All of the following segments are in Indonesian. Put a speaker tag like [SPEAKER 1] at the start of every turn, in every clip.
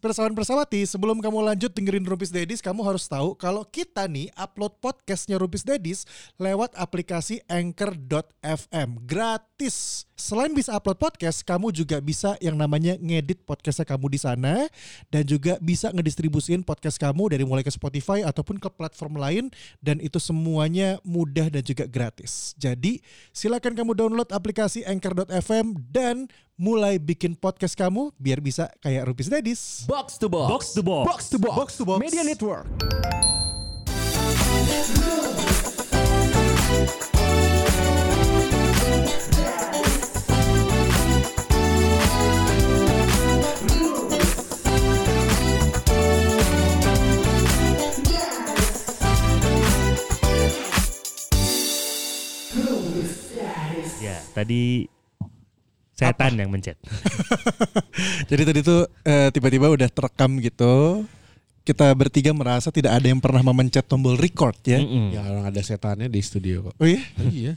[SPEAKER 1] Persawati, sebelum kamu lanjut dengerin Rupis Dedis, kamu harus tahu kalau kita nih upload podcastnya Rupis Dedis lewat aplikasi Anchor.fm. Gratis. Selain bisa upload podcast, kamu juga bisa yang namanya ngedit podcastnya kamu di sana dan juga bisa ngedistribusin podcast kamu dari mulai ke Spotify ataupun ke platform lain dan itu semuanya mudah dan juga gratis. Jadi silakan kamu download aplikasi Anchor.fm dan mulai bikin podcast kamu biar bisa kayak Rupis Dedis.
[SPEAKER 2] Box to box.
[SPEAKER 3] Box to box.
[SPEAKER 2] Box to box.
[SPEAKER 1] Box to box.
[SPEAKER 2] Media Network.
[SPEAKER 3] Ya, tadi setan yang mencet.
[SPEAKER 1] Jadi tadi tuh eh, tiba-tiba udah terekam gitu. Kita bertiga merasa tidak ada yang pernah memencet tombol record ya.
[SPEAKER 3] Hmm.
[SPEAKER 4] Ya orang ada setannya di studio kok.
[SPEAKER 1] Oh iya,
[SPEAKER 4] iya.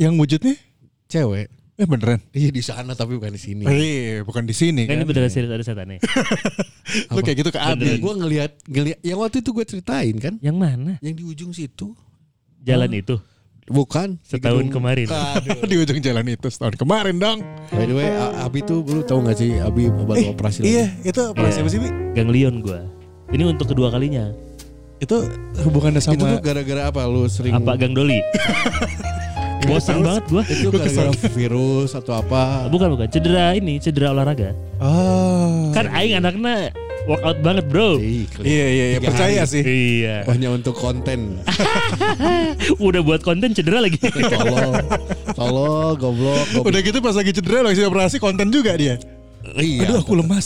[SPEAKER 1] yang wujudnya
[SPEAKER 4] Cewek.
[SPEAKER 1] eh beneran.
[SPEAKER 4] Iya di sana tapi bukan di
[SPEAKER 3] Iya,
[SPEAKER 4] sini.
[SPEAKER 1] Eh, bukan di sini kan.
[SPEAKER 3] Kan ini beneran serius ada setannya.
[SPEAKER 1] Lu kayak gitu ke
[SPEAKER 4] Iya,
[SPEAKER 1] Abi.
[SPEAKER 4] gue ngelihat ngelihat yang waktu itu gue ceritain kan,
[SPEAKER 3] yang mana?
[SPEAKER 4] yang di ujung situ
[SPEAKER 3] Jalan itu
[SPEAKER 4] bukan di
[SPEAKER 3] setahun
[SPEAKER 4] gedung-
[SPEAKER 3] kemarin.
[SPEAKER 1] di ujung jalan itu setahun kemarin dong.
[SPEAKER 4] By the way, A- Abi tuh lu tahu gak sih Abi baru operasi lagi?
[SPEAKER 1] Iya, itu operasi
[SPEAKER 3] Iya.
[SPEAKER 1] apa sih, Bi?
[SPEAKER 3] Ganglion gua. Ini untuk kedua kalinya.
[SPEAKER 1] Itu hubungannya
[SPEAKER 4] Itu tuh
[SPEAKER 1] sama
[SPEAKER 4] gara-gara apa lu sering
[SPEAKER 3] Apa Gang Doli? Bosan banget gua.
[SPEAKER 4] Itu gara-gara virus atau apa?
[SPEAKER 3] Bukan bukan, cedera ini, cedera olahraga.
[SPEAKER 1] Oh.
[SPEAKER 3] Kan aing anaknya workout banget, Bro.
[SPEAKER 4] Ih,
[SPEAKER 1] Iya, iya, iya,
[SPEAKER 4] Tiga
[SPEAKER 1] percaya
[SPEAKER 4] hari.
[SPEAKER 1] sih.
[SPEAKER 3] Iya.
[SPEAKER 4] Hanya untuk konten.
[SPEAKER 3] Udah buat konten cedera lagi.
[SPEAKER 4] Tolol. Tolol, goblok, goblok.
[SPEAKER 1] Udah gitu pas lagi cedera lagi operasi konten juga dia.
[SPEAKER 4] Iya.
[SPEAKER 1] Aduh, aku lemas.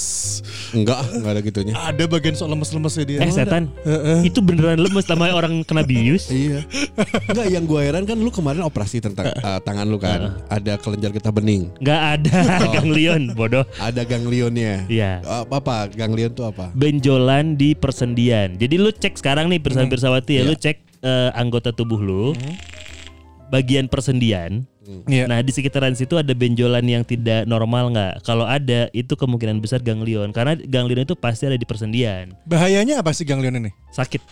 [SPEAKER 4] Enggak, enggak ada gitunya.
[SPEAKER 1] Ada bagian soal lemes-lemesnya dia.
[SPEAKER 3] eh setan,
[SPEAKER 1] Heeh.
[SPEAKER 3] itu beneran lemes sama orang kena bius.
[SPEAKER 4] Iya. Enggak yang gue heran kan lu kemarin operasi tentang eh, tangan lu kan. Ada kelenjar getah bening.
[SPEAKER 3] Nggak ada ganglion, bodoh.
[SPEAKER 4] Ada ganglionnya.
[SPEAKER 3] Iya.
[SPEAKER 4] Apa, apa? Ganglion tuh apa?
[SPEAKER 3] benjolan di persendian. Jadi lu cek sekarang nih persawan persawati ya,
[SPEAKER 4] Iya.
[SPEAKER 3] lu cek eh, anggota tubuh lu. Bagian persendian.
[SPEAKER 1] Iya.
[SPEAKER 3] Nah, di sekitaran situ ada benjolan yang tidak normal nggak? Kalau ada, itu kemungkinan besar ganglion karena ganglion itu pasti ada di persendian.
[SPEAKER 1] Bahayanya apa sih ganglion ini?
[SPEAKER 3] Sakit.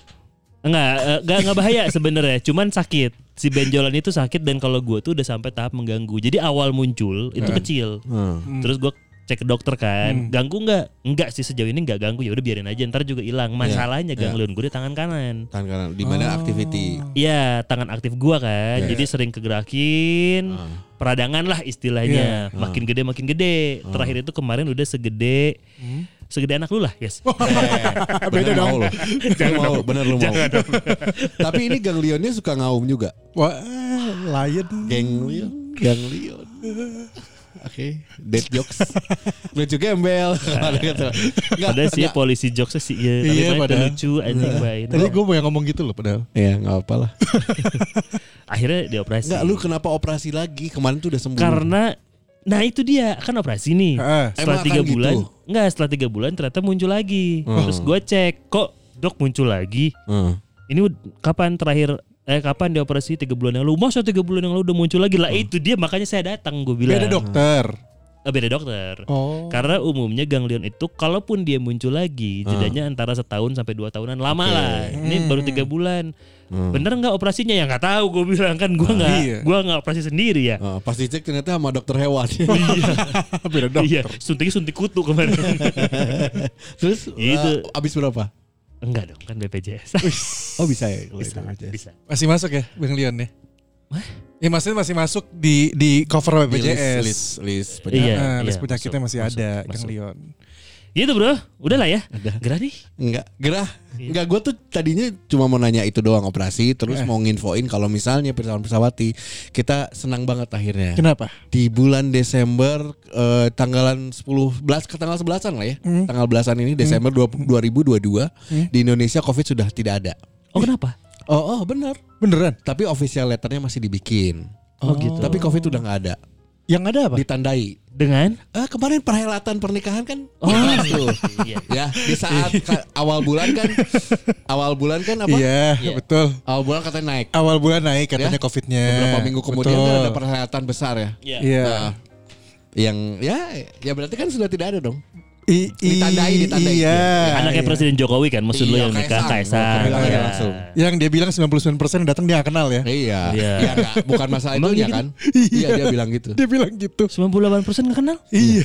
[SPEAKER 3] Enggak, eh, enggak enggak bahaya sebenarnya, cuman sakit. Si benjolan itu sakit dan kalau gua tuh udah sampai tahap mengganggu. Jadi awal muncul itu kecil.
[SPEAKER 4] Hmm.
[SPEAKER 3] Terus gue cek ke dokter kan, ganggu nggak? Enggak sih sejauh ini nggak ganggu ya udah biarin aja ntar juga hilang. Masalahnya ganglion gue di tangan kanan.
[SPEAKER 4] Tangan kanan. Di mana activity?
[SPEAKER 3] Iya, tangan aktif gua kan. Jadi sering kegerakin. Peradangan lah istilahnya. Makin gede makin gede. Terakhir itu kemarin udah segede segede anak lu lah, yes.
[SPEAKER 4] Beda dong. Mau Eh, lu. Lu mau, bener lu mau. Tapi ini ganglionnya suka ngaum juga.
[SPEAKER 1] Wah, lion.
[SPEAKER 4] Ganglion, ganglion. Oke, dead jokes. Lucu gembel.
[SPEAKER 1] Nah,
[SPEAKER 4] Enggak,
[SPEAKER 3] Padahal sih polisi jokesnya sih iya, tapi
[SPEAKER 1] Iya,
[SPEAKER 3] ternyata
[SPEAKER 1] padahal.
[SPEAKER 3] lucu anjing baik.
[SPEAKER 1] Tadi gue mau yang ngomong gitu loh padahal.
[SPEAKER 4] Ya, enggak apa-apalah.
[SPEAKER 3] Akhirnya dioperasi.
[SPEAKER 4] Enggak, lu kenapa operasi lagi? Kemarin tuh udah sembuh.
[SPEAKER 3] Karena nah itu dia kan operasi nih.
[SPEAKER 1] Heeh.
[SPEAKER 3] Setelah
[SPEAKER 4] Emang
[SPEAKER 3] tiga
[SPEAKER 4] akan gitu?
[SPEAKER 3] bulan, enggak setelah tiga bulan ternyata muncul lagi. Terus gue cek kok dok muncul lagi.
[SPEAKER 4] Heeh.
[SPEAKER 3] Ini ud- kapan terakhir eh kapan dioperasi tiga bulan yang lalu? Masa tiga bulan yang lalu udah muncul lagi lah itu dia makanya saya datang gue bilang.
[SPEAKER 1] Beda dokter.
[SPEAKER 3] Eh, beda dokter.
[SPEAKER 1] Oh.
[SPEAKER 3] Karena umumnya ganglion itu kalaupun dia muncul lagi jedanya antara setahun sampai dua tahunan lama lah. Ini baru tiga bulan. Bener nggak operasinya ya nggak tahu gue bilang kan gue nggak
[SPEAKER 1] iya.
[SPEAKER 3] gua nggak operasi sendiri ya.
[SPEAKER 4] Heeh, pas dicek ternyata sama dokter hewan.
[SPEAKER 1] Beda dokter.
[SPEAKER 3] Iya, suntiknya suntik kutu kemarin.
[SPEAKER 4] Terus
[SPEAKER 3] Itu.
[SPEAKER 4] eh, abis berapa?
[SPEAKER 3] Enggak dong, kan BPJS.
[SPEAKER 4] Oh bisa ya. kalau
[SPEAKER 3] bisa,
[SPEAKER 4] itu aja.
[SPEAKER 3] bisa.
[SPEAKER 1] Masih masuk ya ganglion ya? Ya maksudnya masih masuk di di cover
[SPEAKER 4] Di list,
[SPEAKER 1] BPJS.
[SPEAKER 4] list, list penyakit.
[SPEAKER 3] Iya,
[SPEAKER 1] Nah, list
[SPEAKER 3] iya,
[SPEAKER 1] penyakitnya
[SPEAKER 3] masuk,
[SPEAKER 1] masih
[SPEAKER 3] masuk,
[SPEAKER 1] ada
[SPEAKER 3] masuk.
[SPEAKER 1] ganglion.
[SPEAKER 3] Gitu bro, udahlah ya. Gerah nih.
[SPEAKER 4] Enggak, gerah. Enggak, gue tuh tadinya cuma mau nanya itu doang operasi, terus mau nginfoin kalau misalnya Pirsawan Persawati, kita senang banget akhirnya.
[SPEAKER 1] Kenapa?
[SPEAKER 4] Di bulan Desember, eh, tanggalan 10, 11 ke tanggal 11-an lah ya. Tanggal belasan ini, Desember 2022, di Indonesia COVID sudah tidak ada.
[SPEAKER 3] Oh kenapa?
[SPEAKER 4] Hmm. Oh, oh benar.
[SPEAKER 1] Beneran?
[SPEAKER 4] Tapi official letternya masih dibikin.
[SPEAKER 3] Oh, gitu.
[SPEAKER 4] Tapi COVID udah nggak ada.
[SPEAKER 1] Yang ada apa?
[SPEAKER 4] Ditandai.
[SPEAKER 3] Dengan?
[SPEAKER 4] Eh, kemarin perhelatan pernikahan kan
[SPEAKER 3] Oh,
[SPEAKER 4] tuh.
[SPEAKER 3] iya.
[SPEAKER 4] ya di saat ka- awal bulan kan awal bulan kan apa
[SPEAKER 1] Iya, betul.
[SPEAKER 4] awal bulan katanya naik
[SPEAKER 1] Awal bulan naik katanya
[SPEAKER 4] Ya.
[SPEAKER 1] COVID-nya.
[SPEAKER 3] Eh,
[SPEAKER 4] beberapa minggu kemudian
[SPEAKER 1] Betul.
[SPEAKER 4] kan ada perhelatan besar ya
[SPEAKER 3] Iya.
[SPEAKER 1] Iya.
[SPEAKER 4] Nah, yang ya ya berarti kan sudah tidak ada dong
[SPEAKER 1] I- i-
[SPEAKER 4] Ditandai, ditandai.
[SPEAKER 1] Iya.
[SPEAKER 3] Anaknya
[SPEAKER 1] iya.
[SPEAKER 3] Presiden Jokowi kan, maksud lu
[SPEAKER 4] Iya,
[SPEAKER 3] yang nikah
[SPEAKER 4] Kaisang.
[SPEAKER 3] Kaisang.
[SPEAKER 4] Bilang aja
[SPEAKER 3] Iya.
[SPEAKER 4] langsung.
[SPEAKER 1] Yang dia bilang 99% yang datang dia nggak kenal ya.
[SPEAKER 4] Iya.
[SPEAKER 3] Iya. gitu?
[SPEAKER 4] Iya, nggak, bukan masalah itu ya kan? Iya, dia bilang gitu.
[SPEAKER 1] Dia bilang gitu.
[SPEAKER 3] 98% nggak kenal?
[SPEAKER 1] Iya.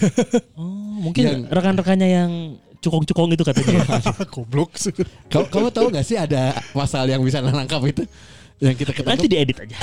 [SPEAKER 3] Oh, mungkin
[SPEAKER 4] Yang-
[SPEAKER 3] rekan-rekannya yang cukong-cukong itu katanya.
[SPEAKER 1] Goblok sih.
[SPEAKER 4] Kamu, kamu tahu nggak sih ada masalah yang bisa nangkap itu? Yang kita ketangkap.
[SPEAKER 3] Nanti diedit aja.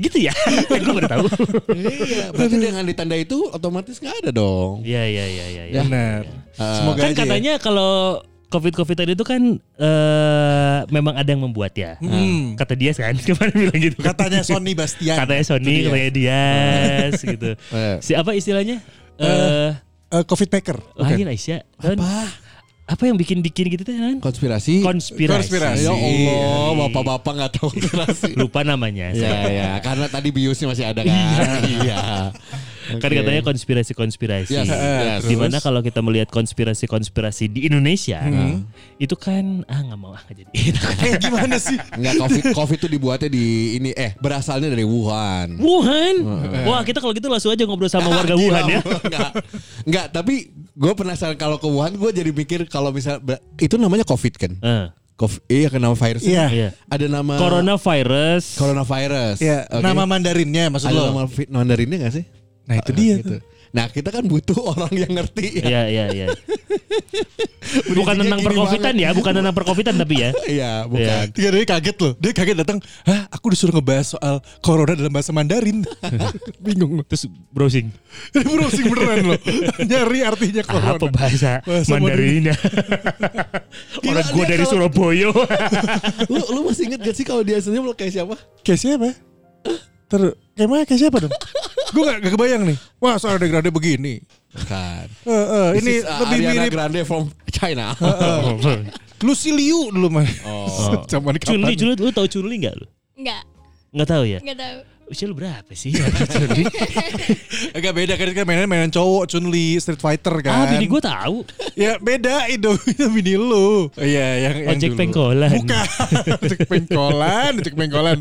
[SPEAKER 3] gitu ya. Kan gue baru tahu.
[SPEAKER 4] Iya, berarti dengan ditanda itu otomatis nggak ada dong.
[SPEAKER 3] Iya, iya, iya, iya. iya.
[SPEAKER 1] Benar. Semoga
[SPEAKER 3] Kan
[SPEAKER 1] aja ya.
[SPEAKER 3] katanya kalau COVID-COVID tadi itu kan eh memang ada yang membuat ya.
[SPEAKER 1] Hmm.
[SPEAKER 3] Kata dia kan kemarin bilang gitu. kan.
[SPEAKER 1] Katanya Sony Bastian.
[SPEAKER 3] katanya Sony,
[SPEAKER 1] Itu dia. Hmm.
[SPEAKER 3] katanya Dias gitu.
[SPEAKER 4] Eh.
[SPEAKER 3] Si apa istilahnya? Eh
[SPEAKER 1] Eh, Covid Maker.
[SPEAKER 3] lain Aisyah. Kan, apa? yang bikin-bikin gitu tuh kan?
[SPEAKER 4] Konspirasi.
[SPEAKER 3] Konspirasi.
[SPEAKER 1] Konspirasi.
[SPEAKER 4] Ya Allah,
[SPEAKER 3] Iya.
[SPEAKER 4] bapak-bapak nggak tahu konspirasi.
[SPEAKER 3] Lupa namanya.
[SPEAKER 1] Iya.
[SPEAKER 4] ya, ya, karena tadi biusnya masih ada kan. Iya.
[SPEAKER 3] Kan
[SPEAKER 4] Oke.
[SPEAKER 3] katanya konspirasi-konspirasi.
[SPEAKER 4] Yes, yes.
[SPEAKER 3] Dimana
[SPEAKER 4] Terus?
[SPEAKER 3] kalau kita melihat konspirasi-konspirasi di Indonesia,
[SPEAKER 4] Hmm.
[SPEAKER 3] itu kan ah nggak mau ah nggak jadi.
[SPEAKER 1] Eh gimana sih?
[SPEAKER 4] Nggak covid covid itu dibuatnya di ini eh berasalnya dari Wuhan.
[SPEAKER 3] Wuhan,
[SPEAKER 4] Eh.
[SPEAKER 3] wah kita kalau gitu langsung aja ngobrol sama warga
[SPEAKER 4] Gila,
[SPEAKER 3] Wuhan ya.
[SPEAKER 4] Nggak, nggak, tapi gue penasaran kalau ke Wuhan gue jadi mikir kalau misal itu namanya covid kan.
[SPEAKER 3] Eh,
[SPEAKER 4] Covid, iya kenapa virus?
[SPEAKER 1] Iya.
[SPEAKER 3] iya.
[SPEAKER 4] Ada nama
[SPEAKER 3] Coronavirus.
[SPEAKER 4] coronavirus.
[SPEAKER 1] Ya,
[SPEAKER 4] Oke.
[SPEAKER 1] nama Mandarinnya maksud
[SPEAKER 4] ada
[SPEAKER 1] lo.
[SPEAKER 4] nama vi- Mandarinnya nggak sih?
[SPEAKER 1] Nah, itu dia
[SPEAKER 4] Gitu.
[SPEAKER 1] tuh.
[SPEAKER 4] Nah kita kan butuh orang yang ngerti
[SPEAKER 3] Iya,
[SPEAKER 4] ya.
[SPEAKER 3] iya, iya. Bukan tentang
[SPEAKER 4] gini
[SPEAKER 3] perkovitan
[SPEAKER 4] banget.
[SPEAKER 3] ya, bukan tentang perkovitan tapi ya.
[SPEAKER 4] Iya bukan.
[SPEAKER 1] Tiga dia kaget loh. Dia kaget datang, "Hah, aku disuruh ngebahas soal corona dalam bahasa Mandarin." Bingung loh.
[SPEAKER 3] Terus browsing.
[SPEAKER 1] Dia browsing beneran loh. Nyari artinya corona.
[SPEAKER 3] Apa bahasa,
[SPEAKER 1] Bahasa
[SPEAKER 3] Mandarinnya? Orang
[SPEAKER 4] Gila,
[SPEAKER 3] gua
[SPEAKER 4] dia
[SPEAKER 3] dari
[SPEAKER 4] kalau-
[SPEAKER 3] Surabaya.
[SPEAKER 4] lu, lu masih inget gak sih kalau dia aslinya kayak siapa?
[SPEAKER 1] Kayak siapa? Ter emang kayak siapa dong? Gue gak, gak kebayang nih. Wah, soal degradasi begini.
[SPEAKER 4] Bukan.
[SPEAKER 1] Eh, eh,
[SPEAKER 4] This
[SPEAKER 1] ini
[SPEAKER 4] is, uh,
[SPEAKER 1] lebih
[SPEAKER 4] Ariana
[SPEAKER 1] mirip
[SPEAKER 4] Grande from China.
[SPEAKER 1] Lucy Liu dulu mah.
[SPEAKER 4] Oh.
[SPEAKER 1] Zaman
[SPEAKER 3] Chunli,
[SPEAKER 1] kapan?
[SPEAKER 3] Chunli, lu tahu Chunli nggak lu?
[SPEAKER 2] Enggak,
[SPEAKER 3] Nggak tahu ya.
[SPEAKER 2] enggak tahu.
[SPEAKER 3] Usia lu berapa sih?
[SPEAKER 1] Agak beda kan kan mainan mainan cowok Chunli Street Fighter kan.
[SPEAKER 3] ah, bini gua tahu.
[SPEAKER 1] Ya beda itu bini lu. Iya yang yang
[SPEAKER 3] Ojek
[SPEAKER 1] dulu.
[SPEAKER 3] pengkolan.
[SPEAKER 1] Bukan. Ojek pengkolan, ojek pengkolan.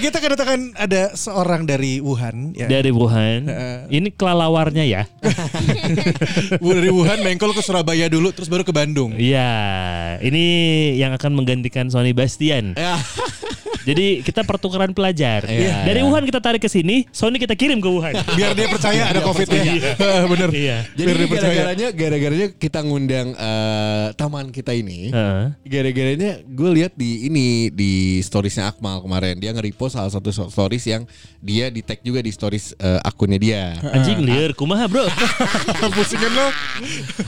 [SPEAKER 1] Kita kedatangan ada seorang dari Wuhan ya.
[SPEAKER 3] Iya. Dari Wuhan.
[SPEAKER 1] Heeh.
[SPEAKER 3] Ini kelalawarnya ya.
[SPEAKER 1] Dari Wuhan mengkol ke Surabaya dulu terus baru ke Bandung.
[SPEAKER 3] Iya, ini yang akan menggantikan Sony Bastian.
[SPEAKER 1] Eh.
[SPEAKER 4] Ya.
[SPEAKER 3] Jadi kita pertukaran pelajar.
[SPEAKER 4] Iya.
[SPEAKER 3] Dari Wuhan kita tarik ke sini, Sony kita kirim ke Wuhan.
[SPEAKER 1] Biar dia Iya, percaya ada Covid-nya. Heeh, Bener.
[SPEAKER 3] Iya.
[SPEAKER 4] Jadi
[SPEAKER 1] Biar dia percaya.
[SPEAKER 4] gara-garanya gara-garanya kita ngundang eh, taman kita
[SPEAKER 1] Iya.
[SPEAKER 4] ini.
[SPEAKER 3] Heeh.
[SPEAKER 4] Gara-garanya gue lihat di ini di storiesnya Akmal kemarin dia nge-repost salah satu so- stories yang dia di tag juga di stories eh, akunnya dia.
[SPEAKER 3] Anjing liar, kumaha bro?
[SPEAKER 1] Pusingin lo.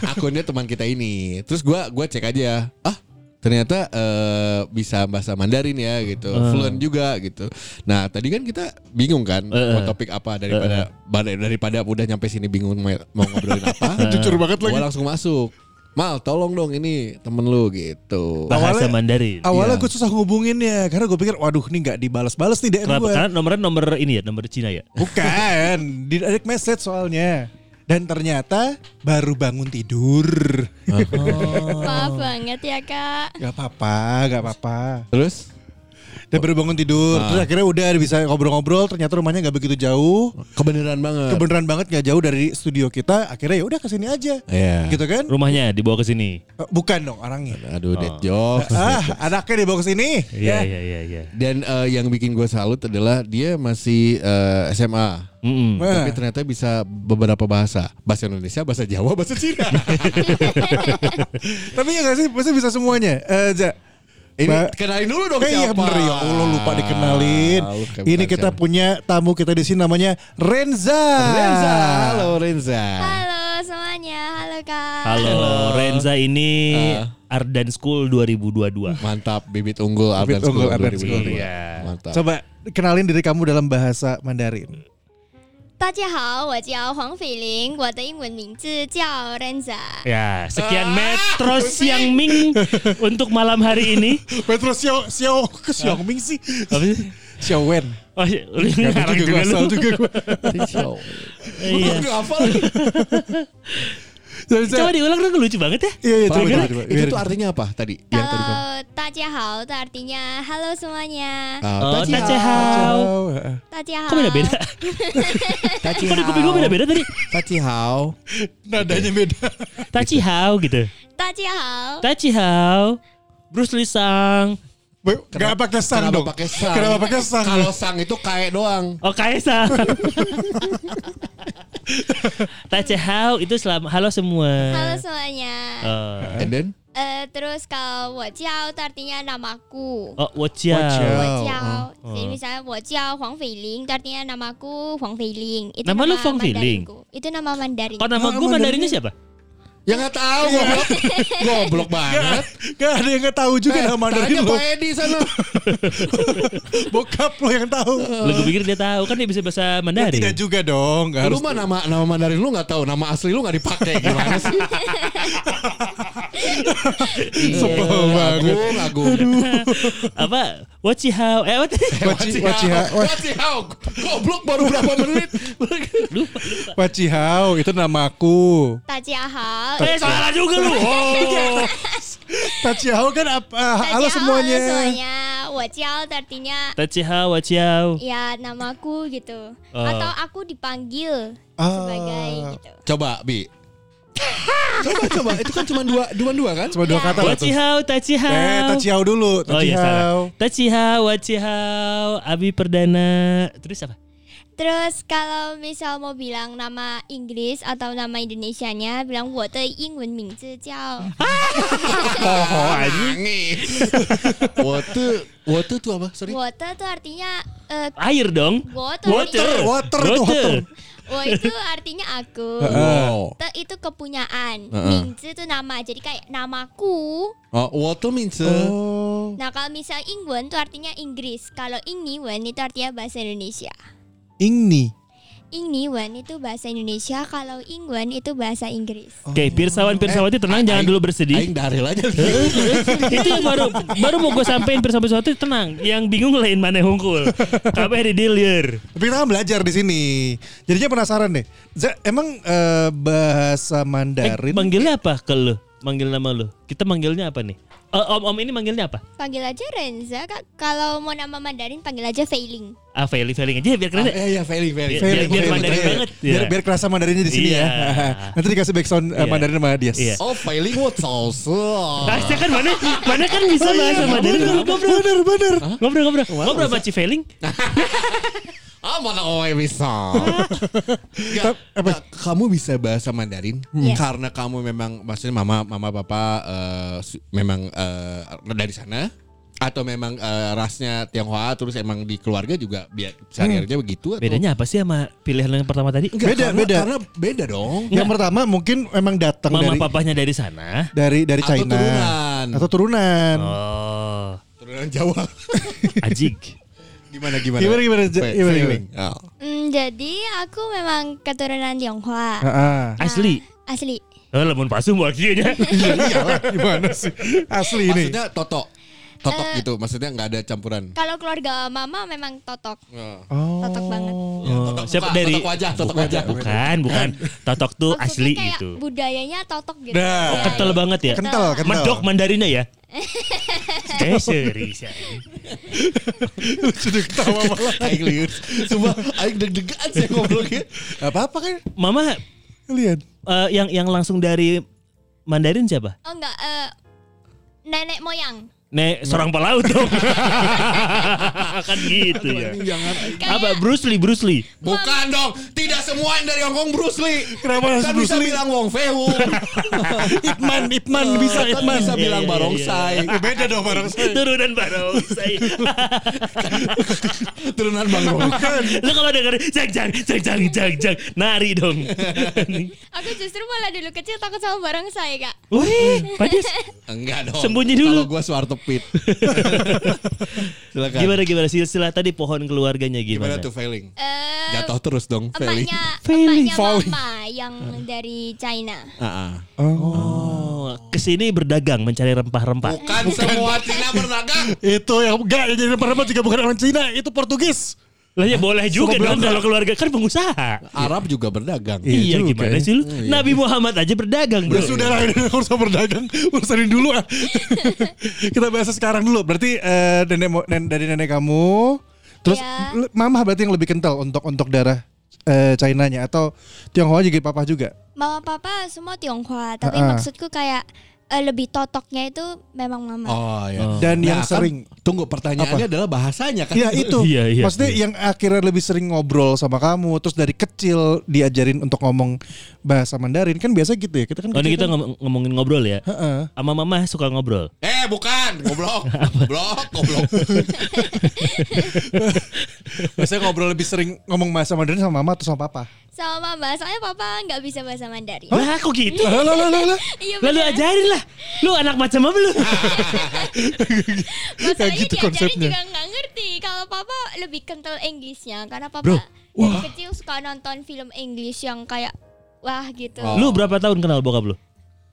[SPEAKER 4] akunnya teman kita ini. Terus gua gua cek aja. Ah, ternyata eh, bisa bahasa Mandarin ya gitu.
[SPEAKER 1] Ah.
[SPEAKER 4] Fluent juga gitu. Nah, tadi kan kita bingung kan
[SPEAKER 1] Eh,
[SPEAKER 4] mau topik apa daripada bada- daripada udah nyampe sini bingung mau, mau ngobrolin apa.
[SPEAKER 1] Jujur banget lagi.
[SPEAKER 4] Gua langsung masuk. Mal, tolong dong ini temen lu gitu.
[SPEAKER 3] Bahasa
[SPEAKER 1] Awalnya-
[SPEAKER 3] Mandarin.
[SPEAKER 1] Awalnya
[SPEAKER 4] Iya.
[SPEAKER 1] gue susah ngubunginnya karena gue pikir waduh ini nggak dibalas-balas nih DM
[SPEAKER 3] Kenapa?
[SPEAKER 1] gue.
[SPEAKER 3] Karena nomornya nomor ini ya, nomor Cina ya.
[SPEAKER 1] Bukan, di direct message soalnya. Dan ternyata baru bangun tidur.
[SPEAKER 2] Maaf
[SPEAKER 3] Oh.
[SPEAKER 2] banget ya kak.
[SPEAKER 1] Gak apa-apa, gak apa-apa.
[SPEAKER 4] Terus
[SPEAKER 1] Dan baru bangun tidur.
[SPEAKER 4] Ah.
[SPEAKER 1] Terus akhirnya udah bisa ngobrol-ngobrol. Ternyata rumahnya nggak begitu jauh.
[SPEAKER 4] kebenaran banget.
[SPEAKER 1] Kebeneran banget nggak jauh dari studio kita. Akhirnya ya udah kesini aja.
[SPEAKER 4] Iya.
[SPEAKER 1] Gitu kan?
[SPEAKER 3] Rumahnya dibawa ke sini.
[SPEAKER 1] Eh, Bukan dong orangnya.
[SPEAKER 4] Aduh, dead jokes.
[SPEAKER 1] Ah, anaknya dibawa ke sini.
[SPEAKER 3] Iya, iya, iya, iya.
[SPEAKER 4] Dan eh, yang bikin gua salut adalah dia masih eh, SMA.
[SPEAKER 3] Mm-mm.
[SPEAKER 1] Wah.
[SPEAKER 4] Tapi ternyata bisa beberapa bahasa. Bahasa Indonesia, bahasa Jawa, bahasa Cina.
[SPEAKER 1] Tapi ya nggak sih, pasti bisa semuanya. Eh, Ja,
[SPEAKER 4] Ini
[SPEAKER 1] Ba-
[SPEAKER 4] kenalin dulu dong
[SPEAKER 1] Eh, iya
[SPEAKER 4] siapa.
[SPEAKER 1] bener ya Allah lupa dikenalin.
[SPEAKER 4] Ah, lu kayak
[SPEAKER 1] Ini
[SPEAKER 4] bukan
[SPEAKER 1] kita
[SPEAKER 4] siapa.
[SPEAKER 1] punya tamu kita di sini namanya Renza.
[SPEAKER 4] Renza. Halo Renza.
[SPEAKER 2] Halo semuanya, halo kak.
[SPEAKER 3] Halo, Renza ini Ardan School 2022.
[SPEAKER 4] Mantap bibit unggul Ardan
[SPEAKER 1] unggul
[SPEAKER 4] School
[SPEAKER 1] Ardan
[SPEAKER 4] 2022.
[SPEAKER 1] School.
[SPEAKER 3] Iya.
[SPEAKER 4] Mantap.
[SPEAKER 1] Coba kenalin diri kamu dalam bahasa Mandarin.
[SPEAKER 2] 大家好，我叫黄斐玲，我的英文名字叫 Renza。
[SPEAKER 3] Ya, sekian Metro Siang Ming untuk malam hari ini.
[SPEAKER 1] Petro Xiao Xiao ke Xiao Ming sih.
[SPEAKER 3] Apa sih?
[SPEAKER 1] Xiao Wen.
[SPEAKER 3] Oh, lu ngarang
[SPEAKER 1] Itu juga
[SPEAKER 3] juga
[SPEAKER 1] asal
[SPEAKER 3] lu.
[SPEAKER 1] juga gua.
[SPEAKER 4] Show.
[SPEAKER 3] Iya.
[SPEAKER 4] Nggak hafal.
[SPEAKER 3] Coba diulang dong lucu banget ya.
[SPEAKER 1] Iya iya
[SPEAKER 4] Pak,
[SPEAKER 1] coba
[SPEAKER 4] bener.
[SPEAKER 1] coba, coba.
[SPEAKER 4] Itu
[SPEAKER 1] Biarin.
[SPEAKER 4] tuh artinya apa tadi?
[SPEAKER 3] Iya,
[SPEAKER 4] Yang tadi kamu-
[SPEAKER 2] Kalau tajahau Eh, itu artinya halo semuanya.
[SPEAKER 4] Ah,
[SPEAKER 3] Oh,
[SPEAKER 4] tadi-
[SPEAKER 3] tacehau.
[SPEAKER 2] Tajahau.
[SPEAKER 3] Kok beda-beda?
[SPEAKER 4] Tachi
[SPEAKER 3] Kok di kuping gue
[SPEAKER 4] hao.
[SPEAKER 3] beda-beda tadi?
[SPEAKER 4] Tachi hao.
[SPEAKER 1] Nadanya beda.
[SPEAKER 3] Tachi hao gitu.
[SPEAKER 2] Tajahau.
[SPEAKER 3] Tachi hao. Bruce Lee sang.
[SPEAKER 1] Gak pakai sang
[SPEAKER 4] Kenapa
[SPEAKER 1] dong.
[SPEAKER 4] pakai sang?
[SPEAKER 1] Kenapa pakai sang?
[SPEAKER 4] Kalau sang itu kayak doang.
[SPEAKER 3] Oh Kaisa. Tachi hao itu selama halo semua.
[SPEAKER 2] Halo semuanya.
[SPEAKER 3] Oh.
[SPEAKER 4] And then?
[SPEAKER 2] Eh, terus kalau wajau itu artinya namaku.
[SPEAKER 3] Oh, watch out.
[SPEAKER 4] Watch out.
[SPEAKER 2] Wajau. Jadi misalnya wajau Huang Feiling itu artinya namaku Huang Feiling. Itu
[SPEAKER 3] Nama lu Huang Feiling?
[SPEAKER 2] Mandarinku. Itu nama Mandarin.
[SPEAKER 3] Kok
[SPEAKER 1] Nama
[SPEAKER 3] nama gue
[SPEAKER 1] Mandarinnya
[SPEAKER 3] Mandarinnya siapa?
[SPEAKER 4] Ya nggak tahu goblok. Goblok banget.
[SPEAKER 1] Gak ada yang nggak tahu juga nama Mandarin
[SPEAKER 4] Tanya
[SPEAKER 1] lo.
[SPEAKER 4] Pak Edi sana.
[SPEAKER 1] Bokap lo yang tahu.
[SPEAKER 3] Lu gue pikir dia tahu kan dia bisa bahasa
[SPEAKER 1] Ya,
[SPEAKER 3] Mandarin.
[SPEAKER 1] Tidak juga dong. Gak harus.
[SPEAKER 4] Lu mah nama nama Mandarin lu nggak tahu, nama asli lu nggak dipakai gimana sih?
[SPEAKER 1] Sebel banget.
[SPEAKER 4] Iya, Agung, agung.
[SPEAKER 3] Apa? What you how? Eh, what?
[SPEAKER 1] Waci- Wacihao.
[SPEAKER 4] Wacihao. Goblok baru berapa menit.
[SPEAKER 3] lupa, lupa.
[SPEAKER 1] Wacihau itu namaku.
[SPEAKER 2] Tajahau.
[SPEAKER 3] Eh, salah juga lu. Oh.
[SPEAKER 1] Tachihau kan apa?
[SPEAKER 2] Tajahau,
[SPEAKER 1] Halo semuanya.
[SPEAKER 2] Halo semuanya. Wajau itu artinya
[SPEAKER 3] Tachi hao, what you how?
[SPEAKER 2] ya namaku gitu.
[SPEAKER 3] Oh.
[SPEAKER 2] Atau aku dipanggil
[SPEAKER 1] Ah.
[SPEAKER 2] sebagai gitu.
[SPEAKER 4] Coba, Bi. coba coba itu kan cuma dua dua dua kan
[SPEAKER 1] Cuma dua
[SPEAKER 2] Ya.
[SPEAKER 1] kata lah
[SPEAKER 3] What
[SPEAKER 1] tuh.
[SPEAKER 3] you how, Tachi hao.
[SPEAKER 1] Eh, Tachihau dulu.
[SPEAKER 3] Oh iya
[SPEAKER 1] Tachihau.
[SPEAKER 3] salah. Tachi hao, what you how? Abi Perdana. Terus apa?
[SPEAKER 2] Terus kalau misal mau bilang nama Inggris atau nama Indonesianya, bilang 我的英文名字叫
[SPEAKER 4] oh nangis water water tuh apa sorry
[SPEAKER 2] 我的 itu artinya eh,
[SPEAKER 3] Air dong.
[SPEAKER 2] Water.
[SPEAKER 1] Water itu water.
[SPEAKER 2] "我" itu artinya aku.
[SPEAKER 4] wow
[SPEAKER 1] Ah.
[SPEAKER 2] Te itu kepunyaan.
[SPEAKER 4] Heeh.
[SPEAKER 2] Mingzi itu nama. Jadi kayak namaku.
[SPEAKER 4] oh, water means uh,
[SPEAKER 1] Oh.
[SPEAKER 2] Nah, kalau misal Ingwen itu artinya Inggris. Kalau Ingniwen itu artinya bahasa Indonesia.
[SPEAKER 1] Ingni.
[SPEAKER 2] Ingniwen itu bahasa Indonesia, kalau Ingwen itu bahasa Inggris.
[SPEAKER 3] Oke, pirsawan pirsawati tenang jangan dulu bersedih.
[SPEAKER 4] aing daril aja
[SPEAKER 3] itu yang baru baru mau gue sampein pirsawan pirsawati tenang. Yang bingung lain mana hungkul. Kabeh di dilir.
[SPEAKER 1] Tapi kita kan belajar di sini. Jadinya penasaran deh. Za- emang eh, bahasa
[SPEAKER 3] Eh,
[SPEAKER 1] Mandarin
[SPEAKER 3] manggilnya apa ke lu? Manggil nama lu. Kita manggilnya apa nih? Eh, Om-om ini manggilnya apa?
[SPEAKER 2] Panggil aja Renza, Kak. Kalau mau nama Mandarin panggil aja Feiling.
[SPEAKER 3] Ah, Failing Failing aja biar keren. deh.
[SPEAKER 4] ya ya Feli Feli
[SPEAKER 3] Biar- biar- biar
[SPEAKER 1] Failing,
[SPEAKER 3] Mandarin
[SPEAKER 1] failing.
[SPEAKER 3] banget.
[SPEAKER 1] Biar,
[SPEAKER 3] Ya.
[SPEAKER 1] biar kerasa Mandarinnya di sini
[SPEAKER 3] Iya.
[SPEAKER 1] ya. Nanti dikasih background eh,
[SPEAKER 3] Iya.
[SPEAKER 1] Mandarin sama dia.
[SPEAKER 3] Iya.
[SPEAKER 4] oh Feli what sauce
[SPEAKER 3] Nah, saya kan mana mana kan bisa bahasa Mandarin. Ngobrol,
[SPEAKER 1] iya, Bener bener.
[SPEAKER 3] ngobrol, ngobrol. Ngobrol sama Cifeling.
[SPEAKER 4] ah mana oe bisa
[SPEAKER 1] Tap- apa?
[SPEAKER 4] Ya, kamu bisa bahasa Mandarin
[SPEAKER 2] Iya.
[SPEAKER 4] karena kamu memang maksudnya mama mama papa eh, su- memang eh, dari sana atau memang eh, rasnya Tionghoa terus emang di keluarga juga biar sehari-harinya begitu atau
[SPEAKER 3] Bedanya apa sih sama pilihan yang pertama tadi?
[SPEAKER 4] Enggak,
[SPEAKER 1] Hmm. Beda,
[SPEAKER 4] karena,
[SPEAKER 1] beda.
[SPEAKER 4] karena beda dong
[SPEAKER 1] Yang pertama mungkin emang datang
[SPEAKER 3] Mama
[SPEAKER 1] dari
[SPEAKER 3] papahnya dari sana.
[SPEAKER 1] dari dari
[SPEAKER 4] Atau
[SPEAKER 1] China
[SPEAKER 4] turunan.
[SPEAKER 1] atau turunan.
[SPEAKER 3] Oh,
[SPEAKER 4] turunan Jawa
[SPEAKER 3] ajik.
[SPEAKER 4] gimana gimana
[SPEAKER 1] Gimana, gimana, Ja-
[SPEAKER 4] Fe-
[SPEAKER 1] gimana,
[SPEAKER 4] feeling. Oh.
[SPEAKER 2] Hmm, jadi aku memang keturunan Tionghoa.
[SPEAKER 1] Heeh.
[SPEAKER 2] Nah.
[SPEAKER 3] Asli.
[SPEAKER 2] Asli.
[SPEAKER 3] Eh, lamun palsu mau akhirnya.
[SPEAKER 1] Iyalah, gimana sih? Asli ini.
[SPEAKER 4] maksudnya toto totok gitu maksudnya nggak ada campuran
[SPEAKER 2] Kalau keluarga mama memang totok.
[SPEAKER 3] Ah.
[SPEAKER 4] Oh.
[SPEAKER 1] Oh.
[SPEAKER 2] Totok banget.
[SPEAKER 3] Oh, siapa
[SPEAKER 4] Bukan,
[SPEAKER 3] dari
[SPEAKER 4] totok wajah totok
[SPEAKER 3] bukan,
[SPEAKER 4] wajah
[SPEAKER 3] Iya, bukan, bukan. Totok tuh
[SPEAKER 2] Oh, Maksudnya
[SPEAKER 3] asli
[SPEAKER 2] kayak
[SPEAKER 3] gitu.
[SPEAKER 2] budayanya totok gitu.
[SPEAKER 1] Nah.
[SPEAKER 2] Ya,
[SPEAKER 3] Kental
[SPEAKER 2] ya.
[SPEAKER 3] banget ya.
[SPEAKER 1] Kental, kental.
[SPEAKER 3] Medok Mandarinnya ya. Eh, serius. ya.
[SPEAKER 1] Sudah ketawa malah.
[SPEAKER 4] Aing liur Sumpah Aing deg-degan sih ngobrolnya
[SPEAKER 1] Gak apa-apa kan
[SPEAKER 3] Mama
[SPEAKER 1] kalian?
[SPEAKER 3] eh, yang yang langsung dari Mandarin siapa?
[SPEAKER 2] Oh enggak, eh, nenek moyang.
[SPEAKER 3] Nek seorang pelaut dong. kan gitu ya. Apa Bruce Lee, Bruce Lee.
[SPEAKER 4] Bukan dong Tidak semua yang dari Hong Kong Bruce Lee
[SPEAKER 1] Kenapa harus
[SPEAKER 4] Kan
[SPEAKER 1] Bruce
[SPEAKER 4] bisa
[SPEAKER 1] Lee?
[SPEAKER 4] bilang Wong Fei Wu
[SPEAKER 1] Ipman, Ipman bisa
[SPEAKER 4] Kan
[SPEAKER 1] Ipman.
[SPEAKER 4] bisa
[SPEAKER 3] Iya,
[SPEAKER 4] bilang
[SPEAKER 3] iya, iya,
[SPEAKER 4] Barongsai
[SPEAKER 1] Beda dong barang
[SPEAKER 3] Turunan barongsai.
[SPEAKER 4] Turunan Bang Rong
[SPEAKER 3] Lu kalau denger jang jang jang jang jang jang nari dong.
[SPEAKER 2] Aku justru malah dulu kecil takut sama barang saya, Kak.
[SPEAKER 3] Wih, padis.
[SPEAKER 4] Enggak dong
[SPEAKER 3] Sembunyi dulu.
[SPEAKER 4] Kalau gue Suartepit Silakan
[SPEAKER 3] Gimana gimana silsilah tadi pohon keluarganya
[SPEAKER 4] Gimana
[SPEAKER 3] gimana?
[SPEAKER 4] tuh failing
[SPEAKER 2] Eh,
[SPEAKER 4] Jatuh terus dong
[SPEAKER 3] Ya,
[SPEAKER 4] failing
[SPEAKER 2] emaknya,
[SPEAKER 3] Failing.
[SPEAKER 2] emaknya mama yang dari China.
[SPEAKER 4] Ah, ah.
[SPEAKER 3] Oh, kesini berdagang mencari rempah-rempah.
[SPEAKER 4] Bukan Kan semua Cina berdagang
[SPEAKER 1] Iya. Itu yang enggak yang jadi perempuan juga bukan orang Cina, itu Portugis.
[SPEAKER 3] Lah ya boleh juga
[SPEAKER 1] Suka
[SPEAKER 3] dong kalau keluarga kan pengusaha.
[SPEAKER 4] Arab juga berdagang.
[SPEAKER 1] Iya
[SPEAKER 3] Iya,
[SPEAKER 1] juga
[SPEAKER 3] gimana
[SPEAKER 1] ya.
[SPEAKER 3] sih lu? Nabi Muhammad aja berdagang, Bro.
[SPEAKER 1] Ya sudah lah ini urusan berdagang urusanin dulu ah. Kita bahas sekarang dulu. Berarti eh, nenek mo- nen- dari nenek kamu terus
[SPEAKER 2] Iya.
[SPEAKER 1] l- mama berarti yang lebih kental untuk untuk darah eh Chinanya atau Tionghoa juga papa juga.
[SPEAKER 2] Mama papa semua Tionghoa, tapi
[SPEAKER 1] Ah.
[SPEAKER 2] maksudku kayak eh, lebih totoknya itu memang mama.
[SPEAKER 4] Oh ya.
[SPEAKER 3] Oh.
[SPEAKER 1] Dan yang
[SPEAKER 4] kan,
[SPEAKER 1] sering-
[SPEAKER 4] tunggu pertanyaannya adalah bahasanya kan.
[SPEAKER 1] Iya itu.
[SPEAKER 3] Iya, iya.
[SPEAKER 1] Maksudnya yang akhirnya lebih sering ngobrol sama kamu terus dari kecil diajarin untuk ngomong bahasa Mandarin kan biasa gitu ya. Kita kan
[SPEAKER 3] Oh, ini
[SPEAKER 1] kecil
[SPEAKER 3] kita
[SPEAKER 1] kan-
[SPEAKER 3] ngom- ngomongin ngobrol ya.
[SPEAKER 1] Heeh.
[SPEAKER 3] Sama mama suka ngobrol.
[SPEAKER 4] Eh bukan, goblok, goblok, goblok.
[SPEAKER 1] Biasanya ngobrol lebih sering ngomong bahasa Mandarin sama mama atau sama papa.
[SPEAKER 2] Sama mama, soalnya papa nggak bisa bahasa Mandarin.
[SPEAKER 3] Lah kok gitu?
[SPEAKER 1] Lah lah lah lah, lah.
[SPEAKER 2] Iya
[SPEAKER 3] Lalu
[SPEAKER 2] beneran.
[SPEAKER 3] ajarin lah. Lu anak macam apa lu?
[SPEAKER 1] Kayak
[SPEAKER 2] Masalahnya
[SPEAKER 1] gitu
[SPEAKER 2] diajarin
[SPEAKER 1] konsepnya.
[SPEAKER 2] juga nggak ngerti. Kalau papa lebih kental Inggrisnya karena papa
[SPEAKER 1] Bro,
[SPEAKER 2] dari kecil suka nonton film English yang kayak wah gitu.
[SPEAKER 4] Oh.
[SPEAKER 3] Lu berapa tahun kenal bokap lu?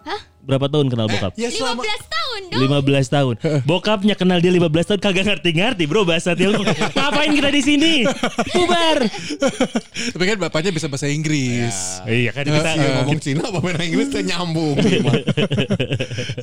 [SPEAKER 2] Hah?
[SPEAKER 3] Berapa tahun kenal
[SPEAKER 4] Eh,
[SPEAKER 3] bokap?
[SPEAKER 4] ya
[SPEAKER 2] 15
[SPEAKER 4] selama
[SPEAKER 2] tahun dong.
[SPEAKER 3] 15 tahun. Bokapnya kenal dia 15 tahun kagak ngerti-ngerti, Bro, bahasa Tiongkok. Ngapain kita di sini? Bubar.
[SPEAKER 1] Tapi kan bapaknya bisa bahasa Inggris.
[SPEAKER 3] Iya kan kita
[SPEAKER 4] Iya, ngomong Cina apa bahasa Inggris tuh nyambung.
[SPEAKER 3] Iya,
[SPEAKER 4] Gimana?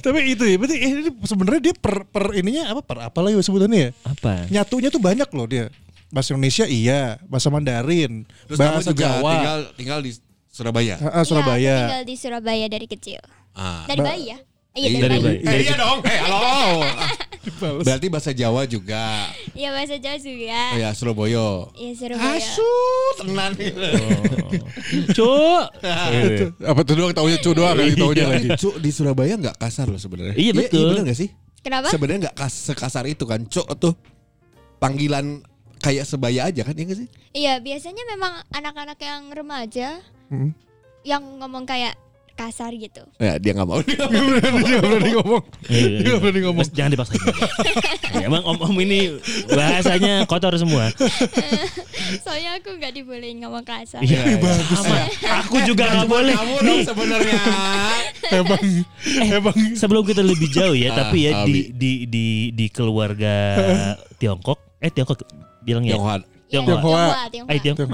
[SPEAKER 1] Tapi itu ya, berarti eh, ini sebenarnya dia per per ininya apa per apalah ya sebutannya ya?
[SPEAKER 3] apa?
[SPEAKER 1] Nyatunya tuh banyak loh dia. Bahasa Indonesia iya, bahasa Mandarin,
[SPEAKER 4] Terus kamu
[SPEAKER 1] bahasa
[SPEAKER 4] juga
[SPEAKER 1] Jawa,
[SPEAKER 4] tinggal tinggal di Surabaya.
[SPEAKER 1] Ah, ah,
[SPEAKER 2] Iya, aku
[SPEAKER 1] Surabaya.
[SPEAKER 2] tinggal di Surabaya dari kecil.
[SPEAKER 4] Ah.
[SPEAKER 2] Dari bayi ya? Iya
[SPEAKER 4] Iya,
[SPEAKER 2] dari,
[SPEAKER 3] dari
[SPEAKER 2] bayi.
[SPEAKER 3] bayi.
[SPEAKER 4] Eh, iya dong. Eh, halo. Ah,
[SPEAKER 1] Dibales.
[SPEAKER 4] Berarti bahasa Jawa juga.
[SPEAKER 2] Iya bahasa Jawa juga.
[SPEAKER 4] Oh, ya Surabaya.
[SPEAKER 2] Iya Surabaya.
[SPEAKER 4] Asu, tenan.
[SPEAKER 3] Cuk.
[SPEAKER 4] Oh. Apa tuh doang taunya cu doang
[SPEAKER 3] kali taunya
[SPEAKER 4] lagi. Iya. Cu di Surabaya nggak kasar loh sebenarnya.
[SPEAKER 3] Iya, betul.
[SPEAKER 4] bener nggak sih?
[SPEAKER 2] Kenapa?
[SPEAKER 4] Sebenarnya nggak kas sekasar itu kan. Cu tuh panggilan kayak sebaya aja kan ya nggak sih?
[SPEAKER 2] Iya biasanya memang anak-anak yang remaja
[SPEAKER 1] Hmm.
[SPEAKER 2] yang ngomong kayak kasar gitu.
[SPEAKER 4] Ya dia nggak mau.
[SPEAKER 1] Dia
[SPEAKER 4] Dia
[SPEAKER 1] berani- dia berani ngomong. Dia
[SPEAKER 3] Iya,
[SPEAKER 1] berani ngomong.
[SPEAKER 3] Mas, jangan dipaksa. Ya, Emang om-om ini bahasanya kotor semua.
[SPEAKER 2] Soalnya aku nggak dibolehin ngomong kasar.
[SPEAKER 3] Iya, sama. Aku juga nggak boleh.
[SPEAKER 4] Iya, Kamu dong
[SPEAKER 3] Nih,
[SPEAKER 4] sebenarnya.
[SPEAKER 1] Emang emang
[SPEAKER 3] sebelum kita lebih jauh ya,
[SPEAKER 4] Ah,
[SPEAKER 3] tapi ya
[SPEAKER 4] Abi.
[SPEAKER 3] di di di di keluarga Tiongkok, eh Tiongkok bilang ya.
[SPEAKER 4] Tionghoa.
[SPEAKER 3] Tionghoa.
[SPEAKER 2] Iya, Tionghoa.
[SPEAKER 3] Eh Tiongkok.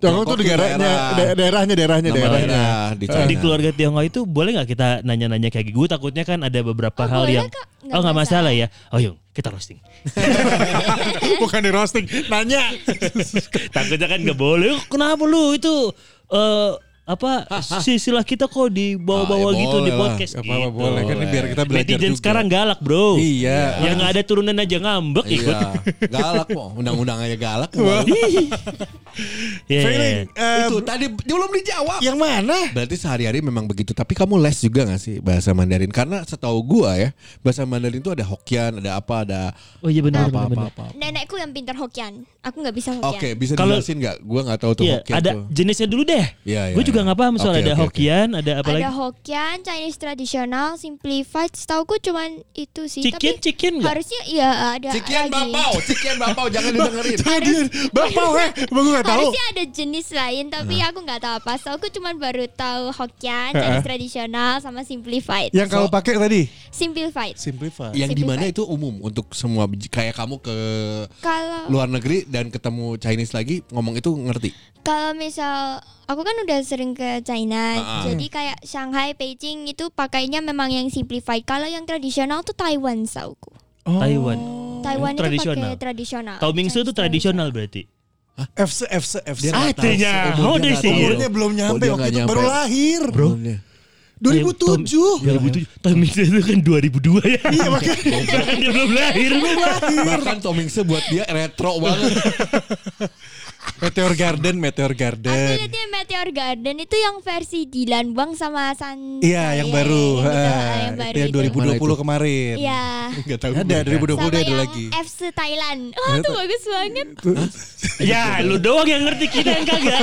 [SPEAKER 1] Tiongkok tuh
[SPEAKER 4] tuh
[SPEAKER 1] negaranya,
[SPEAKER 4] daerah.
[SPEAKER 1] da- daerahnya, daerahnya,
[SPEAKER 4] Nama
[SPEAKER 1] daerahnya.
[SPEAKER 4] daerah di China.
[SPEAKER 3] Di keluarga Tionghoa itu boleh nggak kita nanya-nanya kayak gitu? Takutnya kan ada beberapa
[SPEAKER 2] Oh,
[SPEAKER 3] hal
[SPEAKER 2] boleh,
[SPEAKER 3] yang
[SPEAKER 2] Kak. Nggak
[SPEAKER 3] Oh nggak masalah
[SPEAKER 2] masalah.
[SPEAKER 3] ya. Oh yuk kita roasting.
[SPEAKER 1] Bukan di roasting, nanya.
[SPEAKER 3] Takutnya kan nggak boleh. Kenapa lu itu eh apa silsilah kita kok dibawa-bawa
[SPEAKER 4] Ah, ya
[SPEAKER 3] gitu di
[SPEAKER 4] boleh lah.
[SPEAKER 3] podcast
[SPEAKER 1] Gak
[SPEAKER 3] gitu.
[SPEAKER 1] apa-apa boleh kan biar kita belajar
[SPEAKER 3] Netizen
[SPEAKER 1] juga.
[SPEAKER 3] sekarang galak bro.
[SPEAKER 1] Iya.
[SPEAKER 3] Yang nggak ada turunan aja ngambek ikut.
[SPEAKER 4] Iya. Galak kok. Undang-undang aja galak.
[SPEAKER 3] Iya.
[SPEAKER 1] Feeling, eh,
[SPEAKER 4] Itu tadi belum dijawab.
[SPEAKER 1] yang mana?
[SPEAKER 4] Berarti sehari-hari memang begitu. Tapi kamu les juga gak sih bahasa Mandarin? Karena setahu gua ya, bahasa Mandarin itu ada Hokian, ada apa, ada
[SPEAKER 3] Oh iya benar benar benar.
[SPEAKER 4] apa-apa.
[SPEAKER 2] Nenekku yang pintar Hokian. Aku nggak bisa Hokian.
[SPEAKER 4] Oke, bisa
[SPEAKER 3] Kalau-
[SPEAKER 4] dijelasin nggak? Gua nggak tahu tuh
[SPEAKER 3] Iya,
[SPEAKER 4] Hokian
[SPEAKER 3] ada
[SPEAKER 4] tuh.
[SPEAKER 3] jenisnya dulu deh.
[SPEAKER 4] Iya, iya,
[SPEAKER 3] Gue juga
[SPEAKER 4] iya.
[SPEAKER 3] nggak paham soal
[SPEAKER 4] Oke,
[SPEAKER 3] ada
[SPEAKER 4] oke, oke.
[SPEAKER 3] Hokian, ada apa lagi?
[SPEAKER 2] Ada Hokian, Chinese traditional, simplified. Setauku cuman itu sih.
[SPEAKER 3] Cikin,
[SPEAKER 2] Tapi
[SPEAKER 3] cikin nggak?
[SPEAKER 2] Harusnya iya ada
[SPEAKER 4] Cikian
[SPEAKER 2] lagi.
[SPEAKER 4] Bapau, Cikian Bapau jangan didengerin.
[SPEAKER 1] Tadi Bapak weh, Bang gue gak tahu.
[SPEAKER 2] Harusnya ada jenis lain tapi
[SPEAKER 3] Nah.
[SPEAKER 2] aku nggak tahu apa. Setauku cuman baru tahu Hokian, Chinese traditional sama simplified.
[SPEAKER 1] Yang kamu pakai tadi?
[SPEAKER 2] Simplified.
[SPEAKER 1] Simplify.
[SPEAKER 4] Yang di mana itu umum untuk semua kayak kamu ke
[SPEAKER 2] Kalau
[SPEAKER 4] luar negeri dan ketemu Chinese lagi ngomong itu ngerti.
[SPEAKER 2] Kalau misal aku kan udah sering ke China,
[SPEAKER 4] Ah, ah.
[SPEAKER 2] jadi kayak Shanghai, Beijing itu pakainya memang yang simplified. Kalau yang tradisional tuh Taiwan sauku.
[SPEAKER 1] Hmm,
[SPEAKER 3] Taiwan.
[SPEAKER 2] Taiwan itu
[SPEAKER 3] tradisional.
[SPEAKER 2] pakai tradisional.
[SPEAKER 3] Tao Mingsu itu tradisional berti.
[SPEAKER 1] FC FC FC.
[SPEAKER 4] Dia nggak tahu
[SPEAKER 3] Artinya,
[SPEAKER 4] seumurnya
[SPEAKER 3] how they say
[SPEAKER 4] nggak tahu.
[SPEAKER 3] it.
[SPEAKER 1] Umurnya belum nyampe
[SPEAKER 4] dia
[SPEAKER 1] waktu
[SPEAKER 4] nggak
[SPEAKER 1] itu
[SPEAKER 4] nyampe.
[SPEAKER 1] baru lahir. Bro.
[SPEAKER 4] Umurnya.
[SPEAKER 3] Iya,
[SPEAKER 4] Iya,
[SPEAKER 1] 2007.
[SPEAKER 3] 2007. Tao Mingsu itu kan 2002 ya. Iya makanya. Dia belum lahir.
[SPEAKER 4] Bahkan Tomingse buat dia retro banget.
[SPEAKER 1] Meteor Garden, Meteor
[SPEAKER 2] Aku
[SPEAKER 1] Garden.
[SPEAKER 2] lihatnya Meteor Garden itu yang versi Dilan Bang sama San.
[SPEAKER 1] Iya, yang baru.
[SPEAKER 2] Yang, gitu,
[SPEAKER 1] Ah,
[SPEAKER 2] yang baru
[SPEAKER 1] itu yang
[SPEAKER 2] itu.
[SPEAKER 1] 2020
[SPEAKER 4] Mana itu?
[SPEAKER 1] kemarin.
[SPEAKER 2] Iya.
[SPEAKER 4] Enggak tahu.
[SPEAKER 1] Ada
[SPEAKER 2] Sama
[SPEAKER 1] 2020 dia ada
[SPEAKER 2] yang
[SPEAKER 1] lagi.
[SPEAKER 2] FC Thailand. Wah, itu bagus banget.
[SPEAKER 3] Ya lu doang yang ngerti kita yang kagak.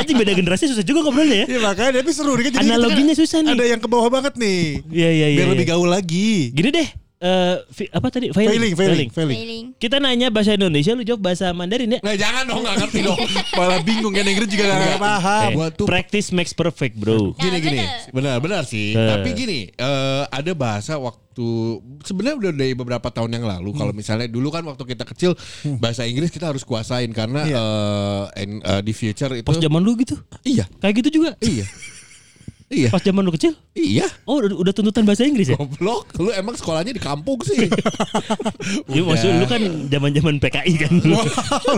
[SPEAKER 3] Anjing beda generasi susah juga ngobrolnya ya.
[SPEAKER 1] Iya makanya tapi seru nih kan. Jadi kita
[SPEAKER 3] Analoginya
[SPEAKER 1] kan
[SPEAKER 3] susah nih.
[SPEAKER 1] Ada yang ke bawah banget nih.
[SPEAKER 3] Iya iya iya.
[SPEAKER 1] Biar
[SPEAKER 3] iya.
[SPEAKER 1] lebih gaul lagi.
[SPEAKER 3] Gini deh. eh, fi- apa tadi
[SPEAKER 1] Failing, failing, failing.
[SPEAKER 2] Feeling.
[SPEAKER 3] Kita nanya bahasa Indonesia, lu jawab bahasa Mandarin ya.
[SPEAKER 4] Nah jangan dong nggak ngerti dong. Malah bingung kan Inggris juga nggak
[SPEAKER 1] Gak
[SPEAKER 4] ngerti.
[SPEAKER 1] paham.
[SPEAKER 3] Eh,
[SPEAKER 4] buat tuh-
[SPEAKER 3] practice makes perfect, bro.
[SPEAKER 4] Gini
[SPEAKER 2] Nah,
[SPEAKER 4] gini,
[SPEAKER 2] bener.
[SPEAKER 4] benar benar
[SPEAKER 3] Eh.
[SPEAKER 4] sih. Tapi gini, eh, ada bahasa waktu sebenarnya udah dari beberapa tahun yang lalu. Kalau misalnya dulu kan waktu kita kecil bahasa Inggris kita harus kuasain karena
[SPEAKER 1] Iya.
[SPEAKER 4] eh, and, eh, di future itu.
[SPEAKER 3] Pas zaman lu gitu.
[SPEAKER 4] Iya,
[SPEAKER 3] Kayak gitu juga.
[SPEAKER 4] iya, iya,
[SPEAKER 3] Pas zaman lu kecil.
[SPEAKER 4] iya.
[SPEAKER 3] Oh, udah, udah tuntutan bahasa Inggris ya?
[SPEAKER 1] Oh,
[SPEAKER 4] Goblok, lu emang sekolahnya di kampung sih.
[SPEAKER 3] Iya, maksud lu kan zaman-zaman PKI kan.
[SPEAKER 1] Wah,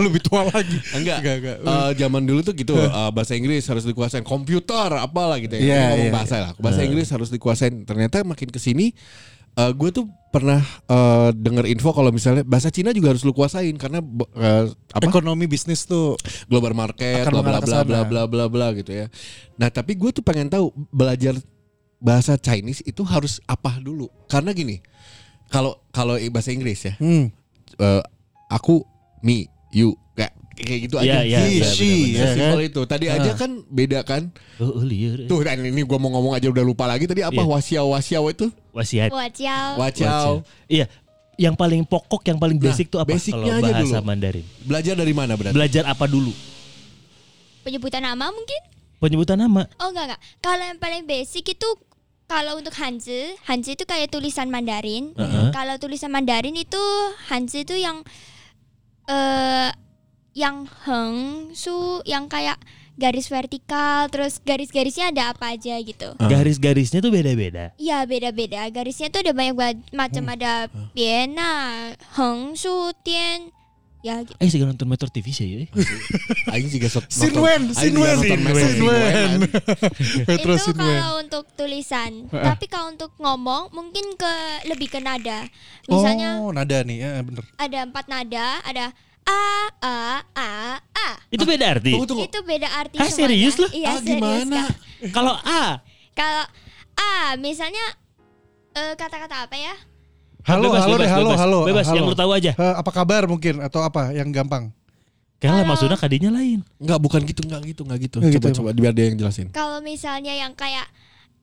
[SPEAKER 1] lebih tua lagi.
[SPEAKER 4] Enggak.
[SPEAKER 1] Enggak, enggak.
[SPEAKER 4] Eh, zaman dulu tuh gitu eh, bahasa Inggris harus dikuasain komputer apalah gitu ya.
[SPEAKER 1] Iya,
[SPEAKER 4] Kita ngomong
[SPEAKER 1] iya,
[SPEAKER 4] bahasa lah. Bahasa Inggris harus dikuasain. Ternyata makin ke sini eh, gue tuh pernah eh, denger info kalau misalnya bahasa Cina juga harus lu kuasain karena b- eh, apa
[SPEAKER 1] Ekonomi bisnis tuh
[SPEAKER 4] global market
[SPEAKER 1] Akan
[SPEAKER 4] bla bla
[SPEAKER 1] mengarah ke
[SPEAKER 4] bla bla
[SPEAKER 1] sana.
[SPEAKER 4] bla bla bla gitu ya. Nah, tapi gue tuh pengen tahu belajar bahasa Chinese itu harus apa dulu? Karena gini, kalau kalau bahasa Inggris ya,
[SPEAKER 1] hmm.
[SPEAKER 4] eh, aku me you kayak kayak gitu
[SPEAKER 3] Iya,
[SPEAKER 4] aja.
[SPEAKER 3] iya,
[SPEAKER 4] He,
[SPEAKER 1] iya,
[SPEAKER 4] she,
[SPEAKER 1] benar-benar.
[SPEAKER 4] ya,
[SPEAKER 1] Iya,
[SPEAKER 4] simpel itu. Tadi aja kan beda kan.
[SPEAKER 3] Oh, liar.
[SPEAKER 4] Tuh dan ini gua mau ngomong aja udah lupa lagi tadi apa
[SPEAKER 3] Iya.
[SPEAKER 4] wasiau wasiau itu?
[SPEAKER 3] Wasiat.
[SPEAKER 2] Wajah.
[SPEAKER 4] Wacau.
[SPEAKER 3] Iya, yang paling pokok, yang paling basic
[SPEAKER 4] Nah,
[SPEAKER 3] tuh apa?
[SPEAKER 4] basicnya
[SPEAKER 3] Kalau
[SPEAKER 4] aja
[SPEAKER 3] bahasa
[SPEAKER 4] dulu.
[SPEAKER 3] Mandarin.
[SPEAKER 4] Belajar dari mana berarti?
[SPEAKER 3] Belajar apa dulu?
[SPEAKER 2] Penyebutan nama mungkin?
[SPEAKER 3] Penyebutan nama.
[SPEAKER 2] Oh enggak enggak. Kalau yang paling basic itu kalau untuk Hanzi, Hanzi itu kayak tulisan Mandarin.
[SPEAKER 3] Heeh.
[SPEAKER 2] Kalau tulisan Mandarin itu Hanzi itu yang eh yang heng su yang kayak garis vertikal terus garis-garisnya ada apa aja gitu.
[SPEAKER 1] Ah.
[SPEAKER 3] Garis-garisnya tuh beda-beda.
[SPEAKER 2] Iya beda-beda garisnya tuh ada banyak ba- macam ada biena, heng su, tian, ya gitu.
[SPEAKER 3] Eh, segala nonton Metro TV sih ya.
[SPEAKER 4] Aing juga sot.
[SPEAKER 1] Sin
[SPEAKER 4] nonton-
[SPEAKER 1] Wen,
[SPEAKER 4] Aing
[SPEAKER 1] Sin
[SPEAKER 4] juga
[SPEAKER 1] Wen,
[SPEAKER 4] nonton
[SPEAKER 1] Sin
[SPEAKER 4] Metro
[SPEAKER 1] Wen.
[SPEAKER 4] Sin Wen.
[SPEAKER 1] Metro
[SPEAKER 2] itu
[SPEAKER 1] Sinwen.
[SPEAKER 2] kalau untuk tulisan. Tapi kalau untuk ngomong mungkin ke lebih ke nada. Misalnya
[SPEAKER 1] Oh, nada nih, ya, bener.
[SPEAKER 2] ada empat nada, ada a a a a.
[SPEAKER 3] Itu beda arti.
[SPEAKER 4] Tunggu tunggu.
[SPEAKER 2] Itu beda arti
[SPEAKER 3] Ah,
[SPEAKER 2] semuanya.
[SPEAKER 3] serius lah?
[SPEAKER 2] Iya,
[SPEAKER 4] Ah,
[SPEAKER 2] serius,
[SPEAKER 4] gimana?
[SPEAKER 2] Kak.
[SPEAKER 3] Kalau A,
[SPEAKER 2] Kalau a misalnya eh, kata-kata apa ya?
[SPEAKER 1] Halo,
[SPEAKER 3] Bebas,
[SPEAKER 1] halo
[SPEAKER 3] bebas,
[SPEAKER 1] deh, halo,
[SPEAKER 3] bebas.
[SPEAKER 1] halo.
[SPEAKER 3] Bebas,
[SPEAKER 1] halo.
[SPEAKER 3] yang lu tahu aja.
[SPEAKER 1] Eh, apa kabar mungkin atau apa yang gampang?
[SPEAKER 3] kalau
[SPEAKER 2] Kalau-
[SPEAKER 3] maksudnya kadinya lain.
[SPEAKER 4] Enggak bukan gitu, enggak gitu, enggak gitu.
[SPEAKER 1] Nggak
[SPEAKER 4] Coba
[SPEAKER 1] gitu,
[SPEAKER 4] coba biar dia yang jelasin.
[SPEAKER 2] Kalau misalnya yang kayak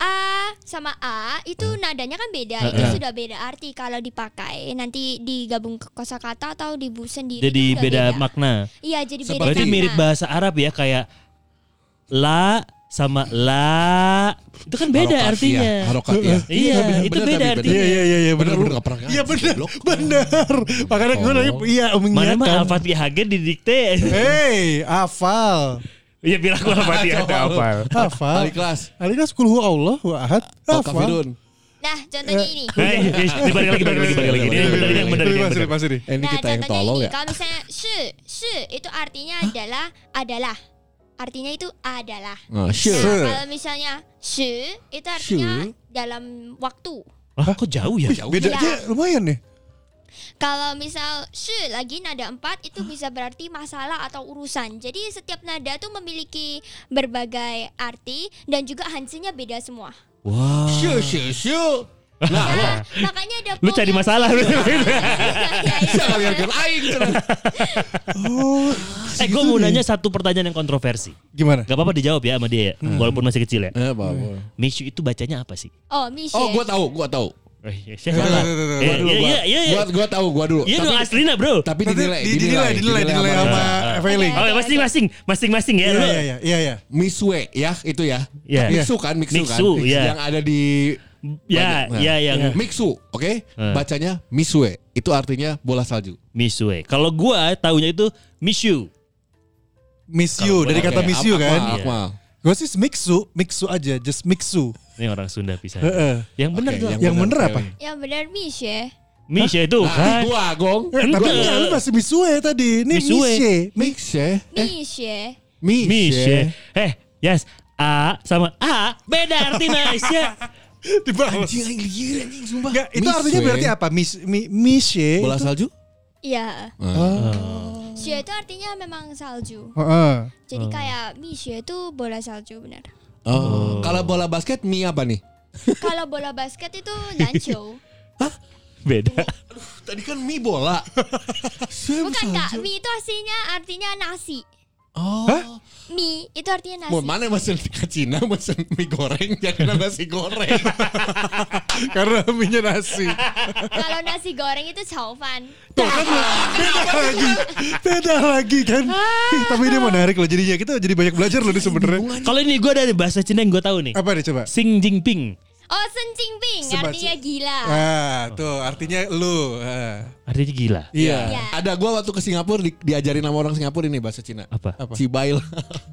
[SPEAKER 2] a sama a itu nadanya kan beda,
[SPEAKER 3] Eh,
[SPEAKER 2] itu
[SPEAKER 3] eh.
[SPEAKER 2] sudah beda arti kalau dipakai nanti digabung ke kosakata atau dibu sendiri.
[SPEAKER 3] Jadi
[SPEAKER 2] itu udah
[SPEAKER 3] beda makna.
[SPEAKER 2] Iya, jadi beda.
[SPEAKER 4] Berarti
[SPEAKER 3] Berarti
[SPEAKER 2] makna.
[SPEAKER 3] mirip bahasa Arab ya kayak la sama la. Itu kan beda
[SPEAKER 4] Harokat,
[SPEAKER 3] artinya.
[SPEAKER 4] iya. Harokat ya.
[SPEAKER 3] Iya, itu beda artinya.
[SPEAKER 1] Iya, iya, iya, iya,
[SPEAKER 4] Benar
[SPEAKER 1] bener.
[SPEAKER 4] benar enggak pernah.
[SPEAKER 1] Iya
[SPEAKER 4] ngaji,
[SPEAKER 1] bener,
[SPEAKER 4] goblok.
[SPEAKER 1] bener. Makanya gue tadi, iya
[SPEAKER 3] Mana mah
[SPEAKER 1] mengingatkan.
[SPEAKER 3] Al-Fatihah ge didikte.
[SPEAKER 1] Hei, hafal.
[SPEAKER 3] Iya bilang gua Al-Fatihah ada apa.
[SPEAKER 1] Hafal.
[SPEAKER 4] Balik kelas.
[SPEAKER 1] Alina kulhu Allah wa ahad.
[SPEAKER 4] Oh,
[SPEAKER 1] Hafal.
[SPEAKER 4] kafirun.
[SPEAKER 2] Nah, contohnya ini.
[SPEAKER 3] Nah, iya, iya, iya. dibalik lagi, balik lagi, balik lagi. Ini yang benar, ini yang benar, ini yang
[SPEAKER 1] Masih,
[SPEAKER 3] benar.
[SPEAKER 1] masih nih.
[SPEAKER 4] Eh, Ini
[SPEAKER 2] nah,
[SPEAKER 4] kita yang
[SPEAKER 2] contohnya
[SPEAKER 4] tolol
[SPEAKER 2] ini,
[SPEAKER 3] kan-
[SPEAKER 4] ya.
[SPEAKER 2] Kalau misalnya se, se itu artinya adalah adalah. Artinya itu adalah.
[SPEAKER 4] Nah,
[SPEAKER 2] Nah,
[SPEAKER 4] sure.
[SPEAKER 2] kalau misalnya se itu artinya dalam waktu.
[SPEAKER 3] Hah, kok jauh ya?
[SPEAKER 1] Bedanya lumayan nih.
[SPEAKER 2] Kalau misal se lagi nada empat itu bisa berarti masalah atau urusan. Jadi setiap nada tuh memiliki berbagai arti dan juga hansinya beda semua.
[SPEAKER 3] Wah.
[SPEAKER 4] Sure, sure, sure.
[SPEAKER 2] Nah, makanya ada
[SPEAKER 3] Lu
[SPEAKER 2] pom
[SPEAKER 3] cari
[SPEAKER 2] yang-
[SPEAKER 3] masalah lu.
[SPEAKER 2] Iya, iya,
[SPEAKER 4] Jangan
[SPEAKER 2] iya.
[SPEAKER 4] lihat aing. cenah.
[SPEAKER 3] Eh, gue mau nanya satu pertanyaan yang kontroversi.
[SPEAKER 1] Gimana?
[SPEAKER 3] Gak apa-apa dijawab ya sama dia ya, walaupun masih kecil ya.
[SPEAKER 4] Eh, apa-apa.
[SPEAKER 3] Mixu itu bacanya apa sih?
[SPEAKER 2] Oh, Michelle.
[SPEAKER 4] Oh, gua tahu, gua tahu.
[SPEAKER 1] Tuh,
[SPEAKER 3] Eh, Siapa
[SPEAKER 1] tuh,
[SPEAKER 3] lah?
[SPEAKER 1] tuh, tuh, tuh.
[SPEAKER 4] Gua
[SPEAKER 3] Eh,
[SPEAKER 4] dulu,
[SPEAKER 3] Iya,
[SPEAKER 4] gua,
[SPEAKER 3] iya, iya.
[SPEAKER 4] gua, gua tahu, gua dulu.
[SPEAKER 3] Iya dong
[SPEAKER 4] tapi,
[SPEAKER 3] aslina bro.
[SPEAKER 4] tapi
[SPEAKER 1] Nanti
[SPEAKER 4] dinilai,
[SPEAKER 1] di- dinilai, dinilai, dinilai sama Evelyn.
[SPEAKER 3] Oh, masing-masing, masing-masing ya.
[SPEAKER 1] Iya,
[SPEAKER 3] lu.
[SPEAKER 1] iya, iya, iya, iya.
[SPEAKER 4] Miswe ya itu ya.
[SPEAKER 3] Iya.
[SPEAKER 4] Mixu kan, mixu, kan.
[SPEAKER 3] Mixu, iya.
[SPEAKER 4] Yang ada di
[SPEAKER 3] Ya,
[SPEAKER 4] Nah,
[SPEAKER 3] ya yang
[SPEAKER 4] Mixu, oke?
[SPEAKER 3] Eh.
[SPEAKER 4] Bacanya miswe. Itu artinya bola salju.
[SPEAKER 3] Misue. Kalau gua taunya itu Misu.
[SPEAKER 1] Miss you dari kata
[SPEAKER 4] Oke,
[SPEAKER 1] miss you
[SPEAKER 4] Akmal,
[SPEAKER 1] kan.
[SPEAKER 4] Akmal.
[SPEAKER 1] Gue sih mixu, mixu aja, just mixu.
[SPEAKER 3] Ini orang Sunda pisan.
[SPEAKER 1] Heeh.
[SPEAKER 3] Yang benar
[SPEAKER 4] Oke,
[SPEAKER 3] tuh.
[SPEAKER 1] Yang bener
[SPEAKER 4] bener,
[SPEAKER 1] apa?
[SPEAKER 4] Evelyn.
[SPEAKER 2] Yang Ya, benar Michelle.
[SPEAKER 3] Misue itu
[SPEAKER 4] Nah,
[SPEAKER 3] kan.
[SPEAKER 4] gua gong.
[SPEAKER 1] Eh, tapi
[SPEAKER 3] Enggak.
[SPEAKER 1] enggak, lu masih misue tadi. Ini
[SPEAKER 3] Misue.
[SPEAKER 1] misye. Mi-
[SPEAKER 4] Mixe, eh
[SPEAKER 2] Michelle.
[SPEAKER 4] Mixe.
[SPEAKER 3] Misue. Eh, yes. A sama A beda Ya. artinya Isya.
[SPEAKER 1] Dibalas.
[SPEAKER 4] Anjing anjing liar anjing sumpah.
[SPEAKER 1] Enggak, itu artinya
[SPEAKER 4] Miswe.
[SPEAKER 1] berarti apa? Mis, mi, misye.
[SPEAKER 4] Bola
[SPEAKER 1] itu-
[SPEAKER 4] salju?
[SPEAKER 2] Iya.
[SPEAKER 1] Ah,
[SPEAKER 2] Xue itu artinya memang salju.
[SPEAKER 1] heeh.
[SPEAKER 2] Jadi kayak mi xue itu bola salju benar.
[SPEAKER 4] Oh. Kalau bola basket mi apa nih?
[SPEAKER 2] Kalau bola basket itu lancio.
[SPEAKER 3] Beda.
[SPEAKER 4] Tadi kan mi bola.
[SPEAKER 2] Bukan Kak, mi itu aslinya artinya nasi.
[SPEAKER 4] Oh.
[SPEAKER 2] Mi itu artinya
[SPEAKER 4] Mau
[SPEAKER 2] nasi.
[SPEAKER 4] mana mesen ke Cina mesen mie goreng jadi nasi goreng. Karena minyak nasi.
[SPEAKER 2] Kalau nasi goreng itu caufan.
[SPEAKER 1] Tuh kan beda lagi, beda lagi kan.
[SPEAKER 4] Ah.
[SPEAKER 1] Ih, tapi ini menarik loh jadinya kita jadi banyak belajar loh ini sebenarnya.
[SPEAKER 3] Kalau ini gue ada nih bahasa Cina yang gue tahu nih.
[SPEAKER 1] Apa nih coba?
[SPEAKER 3] Xing Jinping.
[SPEAKER 2] Oh, sencing ping
[SPEAKER 1] Sebat-
[SPEAKER 2] artinya gila.
[SPEAKER 1] Ah, tuh
[SPEAKER 4] Ya,
[SPEAKER 1] artinya lu. ah.
[SPEAKER 3] Artinya gila.
[SPEAKER 4] Iya.
[SPEAKER 2] Iya.
[SPEAKER 4] Ada gua waktu ke Singapura di- diajarin sama orang Singapura ini bahasa Cina.
[SPEAKER 3] Apa?
[SPEAKER 1] Apa?
[SPEAKER 4] Cibai lah.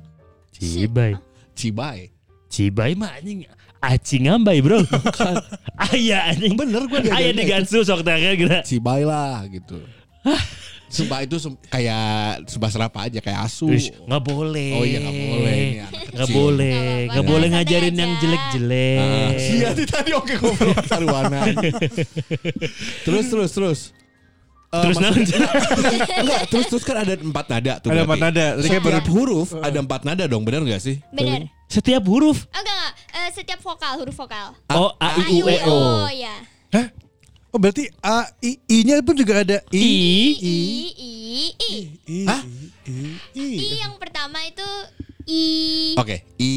[SPEAKER 3] Cibai.
[SPEAKER 4] Cibai.
[SPEAKER 3] Cibai mah anjing acing ambai bro. Aya anjing.
[SPEAKER 4] Bener gue
[SPEAKER 3] Aya di Gansu sok tanya kira.
[SPEAKER 4] Cibai lah gitu. Sumpah itu sem- kayak sumpah serapa aja kayak asu.
[SPEAKER 3] Uish, nggak boleh.
[SPEAKER 4] Oh iya, nggak boleh. Ini anak
[SPEAKER 3] Nggak
[SPEAKER 4] kecil.
[SPEAKER 3] boleh.
[SPEAKER 2] Nggak apa-apa,
[SPEAKER 3] Nggak boleh
[SPEAKER 2] santai
[SPEAKER 3] ngajarin
[SPEAKER 2] aja.
[SPEAKER 3] yang jelek-jelek.
[SPEAKER 4] Iya di tadi oke goblok sarwana. terus terus terus. Eh,
[SPEAKER 3] Terus
[SPEAKER 4] maksudnya-
[SPEAKER 3] nanti.
[SPEAKER 4] Enggak, terus terus kan ada empat nada tuh.
[SPEAKER 1] Ada
[SPEAKER 4] berarti.
[SPEAKER 1] empat nada. Uh. Jadi kayak
[SPEAKER 4] Setiap
[SPEAKER 1] baru-
[SPEAKER 4] huruf ada empat nada dong, benar enggak sih?
[SPEAKER 2] Bener.
[SPEAKER 3] Setiap huruf.
[SPEAKER 2] Oh, enggak, enggak. Eh, setiap vokal, huruf vokal.
[SPEAKER 4] Ah,
[SPEAKER 3] Oh, A, I, U, E, O.
[SPEAKER 2] ya.
[SPEAKER 1] Hah? Oh berarti A I I-nya pun juga ada
[SPEAKER 3] I.
[SPEAKER 1] I.
[SPEAKER 2] I, I, I.
[SPEAKER 1] I.
[SPEAKER 4] Hah?
[SPEAKER 1] I. I.
[SPEAKER 2] I yang pertama itu I.
[SPEAKER 4] Oke, i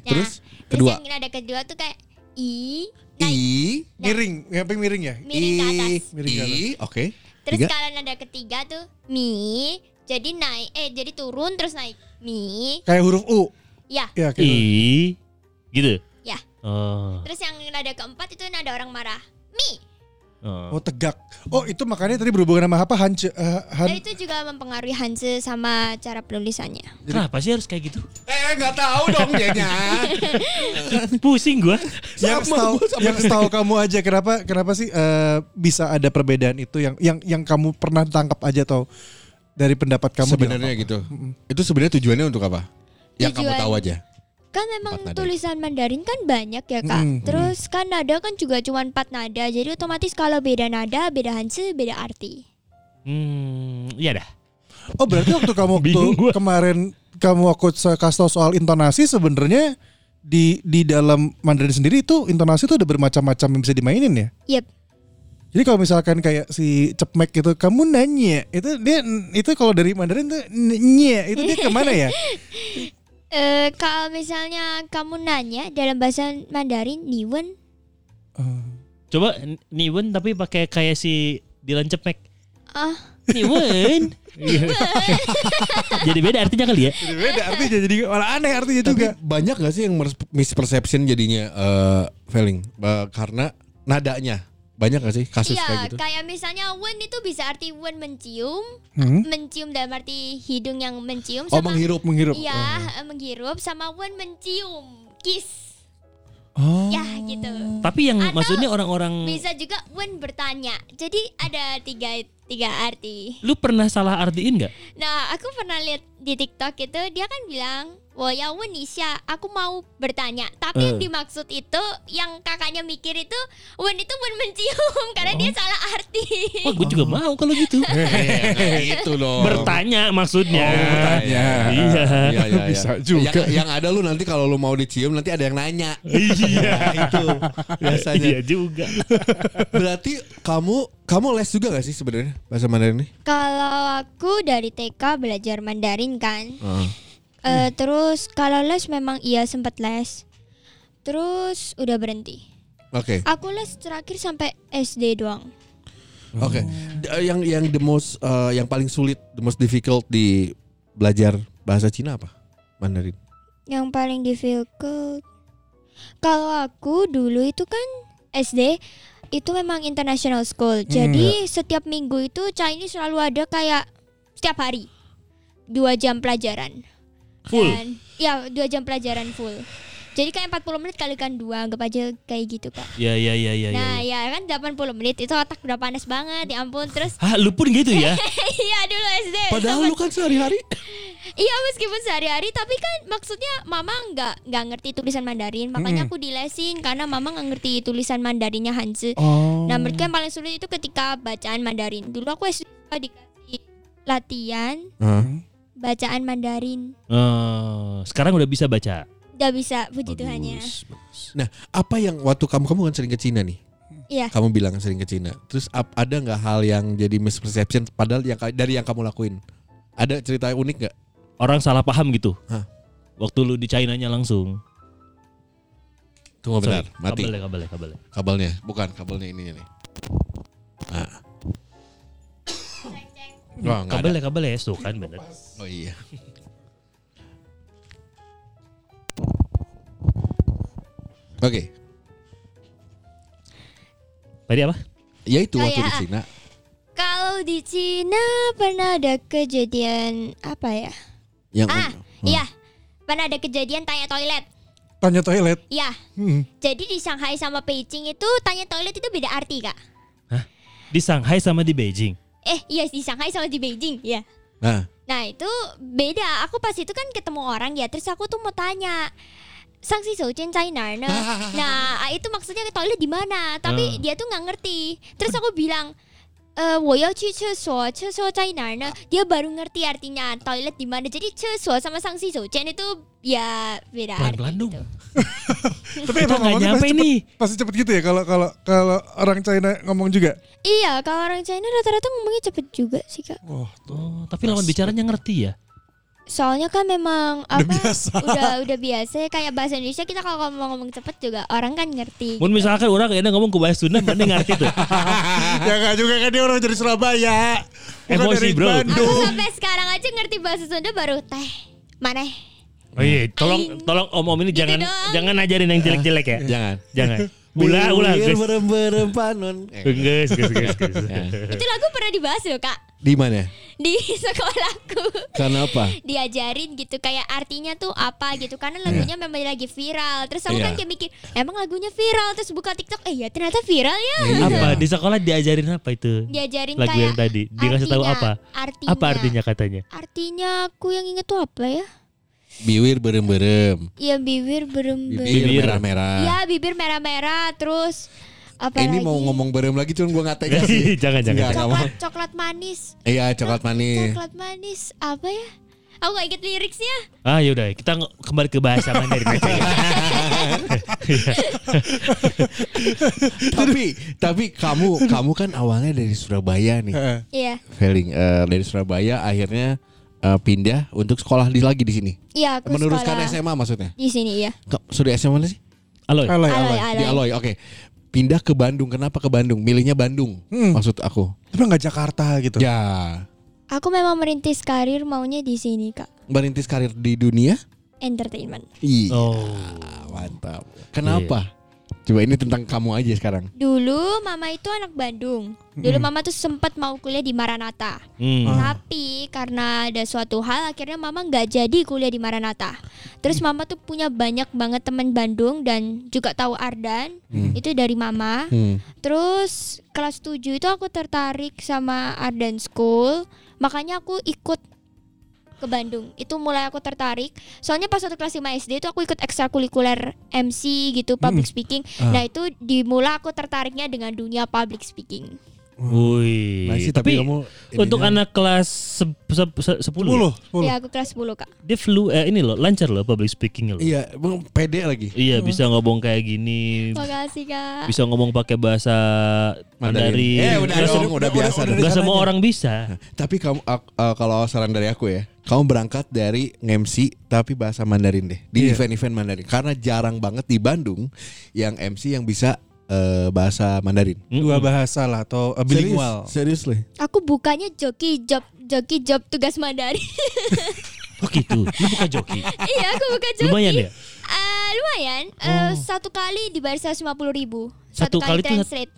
[SPEAKER 2] Nah,
[SPEAKER 4] terus kedua
[SPEAKER 2] yang ada kedua tuh kayak I. Nah,
[SPEAKER 4] i
[SPEAKER 1] Miring, ngapain miring ya?
[SPEAKER 2] miring ke atas.
[SPEAKER 1] Miring ke
[SPEAKER 4] i oke.
[SPEAKER 2] Terus
[SPEAKER 4] Tiga.
[SPEAKER 2] kalau nada ketiga tuh Mi. Jadi naik, eh jadi turun terus naik. Mi.
[SPEAKER 1] Kayak huruf U.
[SPEAKER 2] Ya,
[SPEAKER 1] Ya,
[SPEAKER 3] I.
[SPEAKER 1] kayak
[SPEAKER 3] Gitu.
[SPEAKER 2] ya.
[SPEAKER 3] Oh.
[SPEAKER 2] Terus yang nada keempat itu nada orang marah. Mi.
[SPEAKER 1] Oh
[SPEAKER 3] Oh.
[SPEAKER 1] tegak. Oh itu makanya tadi berhubungan sama apa? Hancu, eh, han,
[SPEAKER 2] Dan itu juga mempengaruhi Hanse sama cara penulisannya.
[SPEAKER 3] Kenapa sih harus kayak gitu?
[SPEAKER 4] Eh nggak tahu dong dia
[SPEAKER 3] Pusing gua.
[SPEAKER 1] yang
[SPEAKER 4] Sama,
[SPEAKER 1] tahu
[SPEAKER 4] gua sama
[SPEAKER 1] yang tahu kamu aja kenapa kenapa sih eh, bisa ada perbedaan itu yang yang yang kamu pernah tangkap aja atau dari pendapat kamu
[SPEAKER 4] Sebenarnya gitu. Itu sebenarnya tujuannya untuk apa? Yang kamu
[SPEAKER 2] Tujuan-
[SPEAKER 4] tahu aja.
[SPEAKER 2] Kan memang
[SPEAKER 4] Empat nada. Mm-hmm.
[SPEAKER 2] tulisan Mandarin kan banyak ya kak.
[SPEAKER 1] Mm-mm.
[SPEAKER 2] Terus kan nada kan juga cuma empat nada. Jadi otomatis kalau beda nada, beda hanse, beda arti.
[SPEAKER 3] Hmm, iya dah.
[SPEAKER 1] Oh berarti waktu kamu waktu
[SPEAKER 3] Bingung gua.
[SPEAKER 1] kemarin kamu aku se- kasih tau soal intonasi sebenarnya di di dalam Mandarin sendiri itu intonasi itu ada bermacam-macam yang bisa dimainin ya.
[SPEAKER 2] Yep.
[SPEAKER 1] Jadi kalau misalkan kayak si Cepmek gitu, kamu nanya itu dia itu kalau dari Mandarin tuh nye itu dia kemana ya?
[SPEAKER 2] Eh kalau misalnya kamu nanya dalam bahasa Mandarin, niwen,
[SPEAKER 3] Coba n- niwen tapi pakai kayak si Dylan Cepek.
[SPEAKER 2] ah
[SPEAKER 3] Niwen. Jadi beda artinya kali ya.
[SPEAKER 1] Jadi beda artinya jadi malah aneh artinya
[SPEAKER 4] Tapi
[SPEAKER 1] juga.
[SPEAKER 4] banyak gak sih yang mer- misperception jadinya eh failing Eh, karena nadanya banyak gak sih kasus
[SPEAKER 2] iya
[SPEAKER 4] kayak gitu?
[SPEAKER 2] kayak misalnya wen itu bisa arti wen mencium,
[SPEAKER 1] Hmm?
[SPEAKER 2] mencium dalam arti hidung yang mencium
[SPEAKER 4] Oh
[SPEAKER 2] sama
[SPEAKER 4] menghirup
[SPEAKER 1] Menghirup. Oh.
[SPEAKER 2] iya eh, menghirup sama wen mencium, kiss,
[SPEAKER 1] Oh.
[SPEAKER 2] ya gitu.
[SPEAKER 3] Tapi yang
[SPEAKER 2] Atau
[SPEAKER 3] maksudnya orang-orang
[SPEAKER 2] Bisa juga wen bertanya. Jadi ada tiga tiga arti.
[SPEAKER 3] lu pernah salah artiin nggak?
[SPEAKER 2] Nah, aku pernah lihat di TikTok itu dia kan bilang, "Wo ya wen isya, aku mau bertanya." Tapi yang
[SPEAKER 3] Eh.
[SPEAKER 2] dimaksud itu yang kakaknya mikir itu wen itu wen mencium
[SPEAKER 1] Oh.
[SPEAKER 2] karena dia salah arti.
[SPEAKER 3] Wah, gue juga mau kalau gitu.
[SPEAKER 4] itu
[SPEAKER 3] Nah,
[SPEAKER 4] dong.
[SPEAKER 3] bertanya maksudnya.
[SPEAKER 1] bertanya.
[SPEAKER 3] Iya.
[SPEAKER 4] Iya, iya,
[SPEAKER 1] Bisa
[SPEAKER 4] iya.
[SPEAKER 1] juga.
[SPEAKER 4] Yang, yang ada lu nanti kalau lu mau dicium nanti ada yang nanya.
[SPEAKER 3] Iya.
[SPEAKER 4] itu biasanya.
[SPEAKER 3] Iya juga.
[SPEAKER 4] Berarti kamu kamu les juga gak sih sebenarnya bahasa Mandarin ini?
[SPEAKER 2] Kalau aku dari TK belajar Mandarin kan. Eh, terus kalau les memang iya sempat les. Terus udah berhenti.
[SPEAKER 4] Oke,
[SPEAKER 2] Aku les terakhir sampai SD doang.
[SPEAKER 4] oke. D- eh, Yang yang the most eh, yang paling sulit, the most difficult di belajar bahasa Cina apa? Mandarin.
[SPEAKER 2] Yang paling difficult kalau aku dulu itu kan SD itu memang international school.
[SPEAKER 3] Hmm.
[SPEAKER 2] Jadi setiap minggu itu Chinese selalu ada kayak setiap hari dua jam pelajaran.
[SPEAKER 3] Full.
[SPEAKER 2] Dan, ya dua jam pelajaran full. Jadi kayak 40 menit kalikan dua anggap aja kayak gitu kak.
[SPEAKER 3] Iya iya iya iya. iya.
[SPEAKER 2] Nah ya kan 80 menit itu otak udah panas banget ya ampun terus
[SPEAKER 3] Hah, lu pun gitu ya?
[SPEAKER 2] iya dulu SD
[SPEAKER 4] Padahal lu kan sehari-hari
[SPEAKER 2] Iya meskipun sehari-hari tapi kan maksudnya mama nggak nggak ngerti tulisan Mandarin makanya aku dilesin karena mama nggak ngerti tulisan Mandarinnya Hanzi.
[SPEAKER 1] Oh.
[SPEAKER 2] Nah menurutku yang paling sulit itu ketika bacaan Mandarin. Dulu aku SD dikasih latihan bacaan Mandarin.
[SPEAKER 3] Eh, sekarang udah bisa baca.
[SPEAKER 2] Udah bisa puji Tuhan ya.
[SPEAKER 3] Bagus, bagus.
[SPEAKER 4] Nah, apa yang waktu kamu kamu kan sering ke Cina nih?
[SPEAKER 2] Iya.
[SPEAKER 4] Kamu bilang sering ke Cina. Terus ap- ada nggak hal yang jadi misperception padahal yang ka- dari yang kamu lakuin? Ada cerita unik nggak?
[SPEAKER 3] Orang salah paham gitu.
[SPEAKER 4] Hah?
[SPEAKER 3] Waktu lu di Chinanya langsung.
[SPEAKER 4] Tunggu
[SPEAKER 3] Sorry,
[SPEAKER 4] bentar,
[SPEAKER 3] ya,
[SPEAKER 4] Oh, mati
[SPEAKER 3] Kabelnya, kabelnya, kabelnya.
[SPEAKER 4] kabelnya. Bukan kabelnya ininya nih. Nah. Wah, nggak ada.
[SPEAKER 3] Kabelnya, kabelnya, tuh kan bener.
[SPEAKER 4] Oh iya. Oke,
[SPEAKER 3] Tadi apa?
[SPEAKER 4] ya itu waktu di
[SPEAKER 2] Kayak-
[SPEAKER 4] Cina.
[SPEAKER 2] Kalau di Cina pernah ada kejadian apa ya?
[SPEAKER 4] Yang
[SPEAKER 2] Ah, iya. Pernah ada kejadian tanya toilet.
[SPEAKER 1] Ya, Tanya toilet.
[SPEAKER 2] Iya.
[SPEAKER 1] Hmm.
[SPEAKER 2] Jadi di Shanghai sama Beijing itu tanya toilet itu beda arti, Kak.
[SPEAKER 3] Di Shanghai sama di Beijing.
[SPEAKER 2] Eh, iya di Shanghai sama di Beijing, ya.
[SPEAKER 4] Nah,
[SPEAKER 2] Nah, itu beda. Aku pas itu kan ketemu orang ya, terus aku tuh mau tanya Sang si Souchen China ne?" Nah, itu maksudnya ke toilet di mana? Tapi dia tuh nggak ngerti. Terus aku bilang, eh, woyo cu cesuo, cesuo China ne?" Dia baru ngerti artinya toilet di mana. Jadi cesuo sama Sang si Souchen itu ya beda
[SPEAKER 3] Pelan-pelan
[SPEAKER 2] arti
[SPEAKER 3] dong.
[SPEAKER 2] gitu.
[SPEAKER 1] Tapi emang
[SPEAKER 3] Kita nggak
[SPEAKER 1] ngomongnya
[SPEAKER 3] nyampe
[SPEAKER 1] pasti cepet,
[SPEAKER 3] nih.
[SPEAKER 1] pasti cepet gitu ya kalau kalau kalau orang China ngomong juga.
[SPEAKER 2] Iya, kalau orang China rata-rata ngomongnya cepet juga sih kak.
[SPEAKER 1] Wah,
[SPEAKER 3] Oh, tapi lawan bicaranya ngerti ya.
[SPEAKER 2] Soalnya kan memang apa?
[SPEAKER 1] biasa.
[SPEAKER 2] Udah udah biasa. ya, Kayak bahasa Indonesia kita kalau ngomong ngomong cepet juga orang kan ngerti.
[SPEAKER 3] Mun misalkan orang kayaknya ngomong kebaya Sunda, mana ngerti tuh.
[SPEAKER 1] ya nggak juga kan dia orang dari Surabaya. Bukan
[SPEAKER 3] Emosi,
[SPEAKER 1] dari
[SPEAKER 3] bro.
[SPEAKER 2] Aku
[SPEAKER 1] Bandung.
[SPEAKER 2] sampai sekarang aja ngerti bahasa Sunda baru teh mana?
[SPEAKER 3] Oh iya, tolong tolong om-om ini
[SPEAKER 2] Gitu
[SPEAKER 3] jangan
[SPEAKER 2] dong.
[SPEAKER 3] jangan ajarin yang jelek-jelek ya.
[SPEAKER 4] jangan.
[SPEAKER 3] Jangan. Ulah, ulah, guys.
[SPEAKER 4] Bilir berem-berem panon. Eh,
[SPEAKER 3] Guys, guys, guys, guys.
[SPEAKER 4] Ya, iya.
[SPEAKER 2] Itu lagu pernah dibahas loh kak
[SPEAKER 4] Di mana?
[SPEAKER 2] di sekolahku.
[SPEAKER 4] Kenapa?
[SPEAKER 2] diajarin gitu kayak artinya tuh apa gitu
[SPEAKER 3] Iya.
[SPEAKER 2] karena lagunya memang lagi viral terus aku kan
[SPEAKER 4] Iya.
[SPEAKER 2] kayak mikir emang lagunya viral terus buka tiktok eh ya ternyata viral ya
[SPEAKER 3] Apa di sekolah diajarin apa itu?
[SPEAKER 2] diajarin
[SPEAKER 3] Iya. Lagu
[SPEAKER 2] kayak
[SPEAKER 3] yang tadi. Dia ngasih tahu
[SPEAKER 2] artinya-
[SPEAKER 3] apa?
[SPEAKER 2] artinya
[SPEAKER 3] Apa artinya katanya?
[SPEAKER 2] artinya aku yang inget tuh apa ya
[SPEAKER 4] Biwir berem-berem.
[SPEAKER 2] ya bibir berembes
[SPEAKER 4] Bibir
[SPEAKER 3] Bibir.
[SPEAKER 4] merah-merah.
[SPEAKER 2] ya bibir merah-merah terus
[SPEAKER 4] Eh,
[SPEAKER 2] apa
[SPEAKER 4] Ah. ini
[SPEAKER 2] lagi?
[SPEAKER 4] mau ngomong berem lagi cuman gua nggak tega
[SPEAKER 3] Iya, Jangan,
[SPEAKER 4] sih.
[SPEAKER 3] jangan, jangan.
[SPEAKER 4] Nggak, nggak mau.
[SPEAKER 2] coklat coklat manis
[SPEAKER 4] Iya, coklat manis.
[SPEAKER 2] coklat manis apa ya aku gak inget liriknya
[SPEAKER 3] Ah yaudah kita nge- kembali ke bahasa Mandarin aja ya.
[SPEAKER 4] tapi tapi kamu kamu kan awalnya dari Surabaya nih.
[SPEAKER 1] Heeh.
[SPEAKER 2] iya
[SPEAKER 4] Feeling eh, dari Surabaya akhirnya eh, pindah untuk sekolah di lagi di sini.
[SPEAKER 2] iya aku
[SPEAKER 4] Meneruskan
[SPEAKER 2] sekolah
[SPEAKER 4] SMA maksudnya.
[SPEAKER 2] di sini ya
[SPEAKER 4] Ka- Sudah SMA mana sih?
[SPEAKER 3] Aloy.
[SPEAKER 1] Alay,
[SPEAKER 2] Alay,
[SPEAKER 1] alay.
[SPEAKER 2] alay.
[SPEAKER 4] Di Aloy, oke. Pindah ke Bandung. Kenapa ke Bandung? Milihnya Bandung.
[SPEAKER 1] Hmm.
[SPEAKER 4] Maksud aku.
[SPEAKER 1] Tapi nggak Jakarta gitu.
[SPEAKER 4] Ya.
[SPEAKER 2] Aku memang merintis karir maunya di sini kak
[SPEAKER 4] Merintis karir di dunia?
[SPEAKER 2] entertainment.
[SPEAKER 4] Iya.
[SPEAKER 3] Oh.
[SPEAKER 4] Mantap. Kenapa?
[SPEAKER 3] Iya.
[SPEAKER 4] Coba ini tentang kamu aja sekarang.
[SPEAKER 2] Dulu mama itu anak Bandung. Dulu mama tuh sempat mau kuliah di Maranatha.
[SPEAKER 3] Hmm.
[SPEAKER 2] Tapi karena ada suatu hal akhirnya mama nggak jadi kuliah di Maranatha. Terus mama tuh punya banyak banget teman Bandung dan juga tahu Ardan. Itu dari mama.
[SPEAKER 4] Hmm.
[SPEAKER 2] Terus kelas 7 itu aku tertarik sama Ardan School. Makanya aku ikut ke Bandung. Itu mulai aku tertarik. Soalnya pas waktu kelas 5 SD itu aku ikut ekstrakurikuler MC gitu, public speaking.
[SPEAKER 3] Ah.
[SPEAKER 2] Nah, itu dimula aku tertariknya dengan dunia public speaking.
[SPEAKER 3] Wih.
[SPEAKER 4] Masih, tapi
[SPEAKER 3] tapi,
[SPEAKER 4] kamu kan?
[SPEAKER 3] untuk
[SPEAKER 4] ininya-
[SPEAKER 3] anak kelas se- se- se- 10, ya?
[SPEAKER 1] 10, 10.
[SPEAKER 2] Ya, aku kelas 10, Kak.
[SPEAKER 3] dia flu eh, ini loh lancar loh public speakingnya loh.
[SPEAKER 4] Iya, bang, pede lagi.
[SPEAKER 3] Iya bisa ngomong kayak gini,
[SPEAKER 2] Makasih, Kak.
[SPEAKER 3] bisa ngomong pakai bahasa
[SPEAKER 4] Mandarin.
[SPEAKER 3] Mandarin.
[SPEAKER 4] Eh, udah
[SPEAKER 3] Nggak
[SPEAKER 4] dong,
[SPEAKER 3] se-
[SPEAKER 4] udah biasa
[SPEAKER 1] udah
[SPEAKER 4] dong.
[SPEAKER 3] nggak semua
[SPEAKER 1] caranya.
[SPEAKER 3] orang bisa.
[SPEAKER 4] Tapi kamu ak- eh, kalau saran dari aku ya, kamu berangkat dari MC tapi bahasa Mandarin deh di
[SPEAKER 1] Iya.
[SPEAKER 4] event-event Mandarin karena jarang banget di Bandung yang MC yang bisa eh, bahasa Mandarin.
[SPEAKER 1] Dua bahasa lah atau uh, bilingual.
[SPEAKER 4] Serius, seriously.
[SPEAKER 2] Aku bukanya joki job joki job tugas Mandarin.
[SPEAKER 3] Oh gitu. Lu bukan joki.
[SPEAKER 2] iya, aku buka joki.
[SPEAKER 3] Lumayan ya. Oh.
[SPEAKER 2] Eh, lumayan. Eh, satu kali dibayar 150 ribu.
[SPEAKER 3] Satu
[SPEAKER 2] Satu,
[SPEAKER 3] kali tuh-
[SPEAKER 2] kali, translate.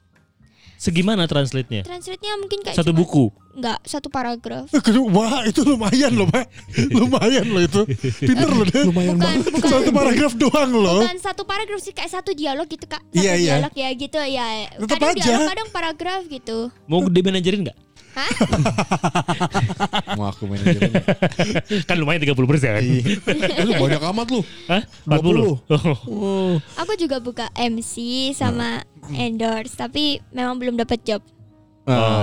[SPEAKER 3] Segimana translate-nya?
[SPEAKER 2] Translate-nya mungkin kayak
[SPEAKER 3] Satu
[SPEAKER 2] cuma-
[SPEAKER 3] buku.
[SPEAKER 2] Enggak, satu paragraf.
[SPEAKER 1] Eh, Wah itu lumayan loh Pak Lumayan loh itu Pinter loh deh
[SPEAKER 4] Lumayan
[SPEAKER 2] Bukan,
[SPEAKER 4] banget.
[SPEAKER 2] bukan.
[SPEAKER 1] Satu paragraf doang loh
[SPEAKER 2] Bukan satu paragraf sih, kayak satu dialog gitu, Kak. Satu
[SPEAKER 1] Iya, iya.
[SPEAKER 2] dialog ya gitu ya.
[SPEAKER 1] Tetep
[SPEAKER 2] kadang
[SPEAKER 1] aja.
[SPEAKER 2] dialog, kadang paragraf gitu.
[SPEAKER 3] Mau di manajerin nggak?
[SPEAKER 2] Hah?
[SPEAKER 4] Mau aku manajerin.
[SPEAKER 3] Kan lumayan 30 persen.
[SPEAKER 4] Eh, lu banyak amat lu.
[SPEAKER 3] Hah? Oh. 40?
[SPEAKER 2] Aku juga buka MC sama
[SPEAKER 1] Hmm.
[SPEAKER 2] endorse, tapi memang belum dapat job.
[SPEAKER 4] Ah,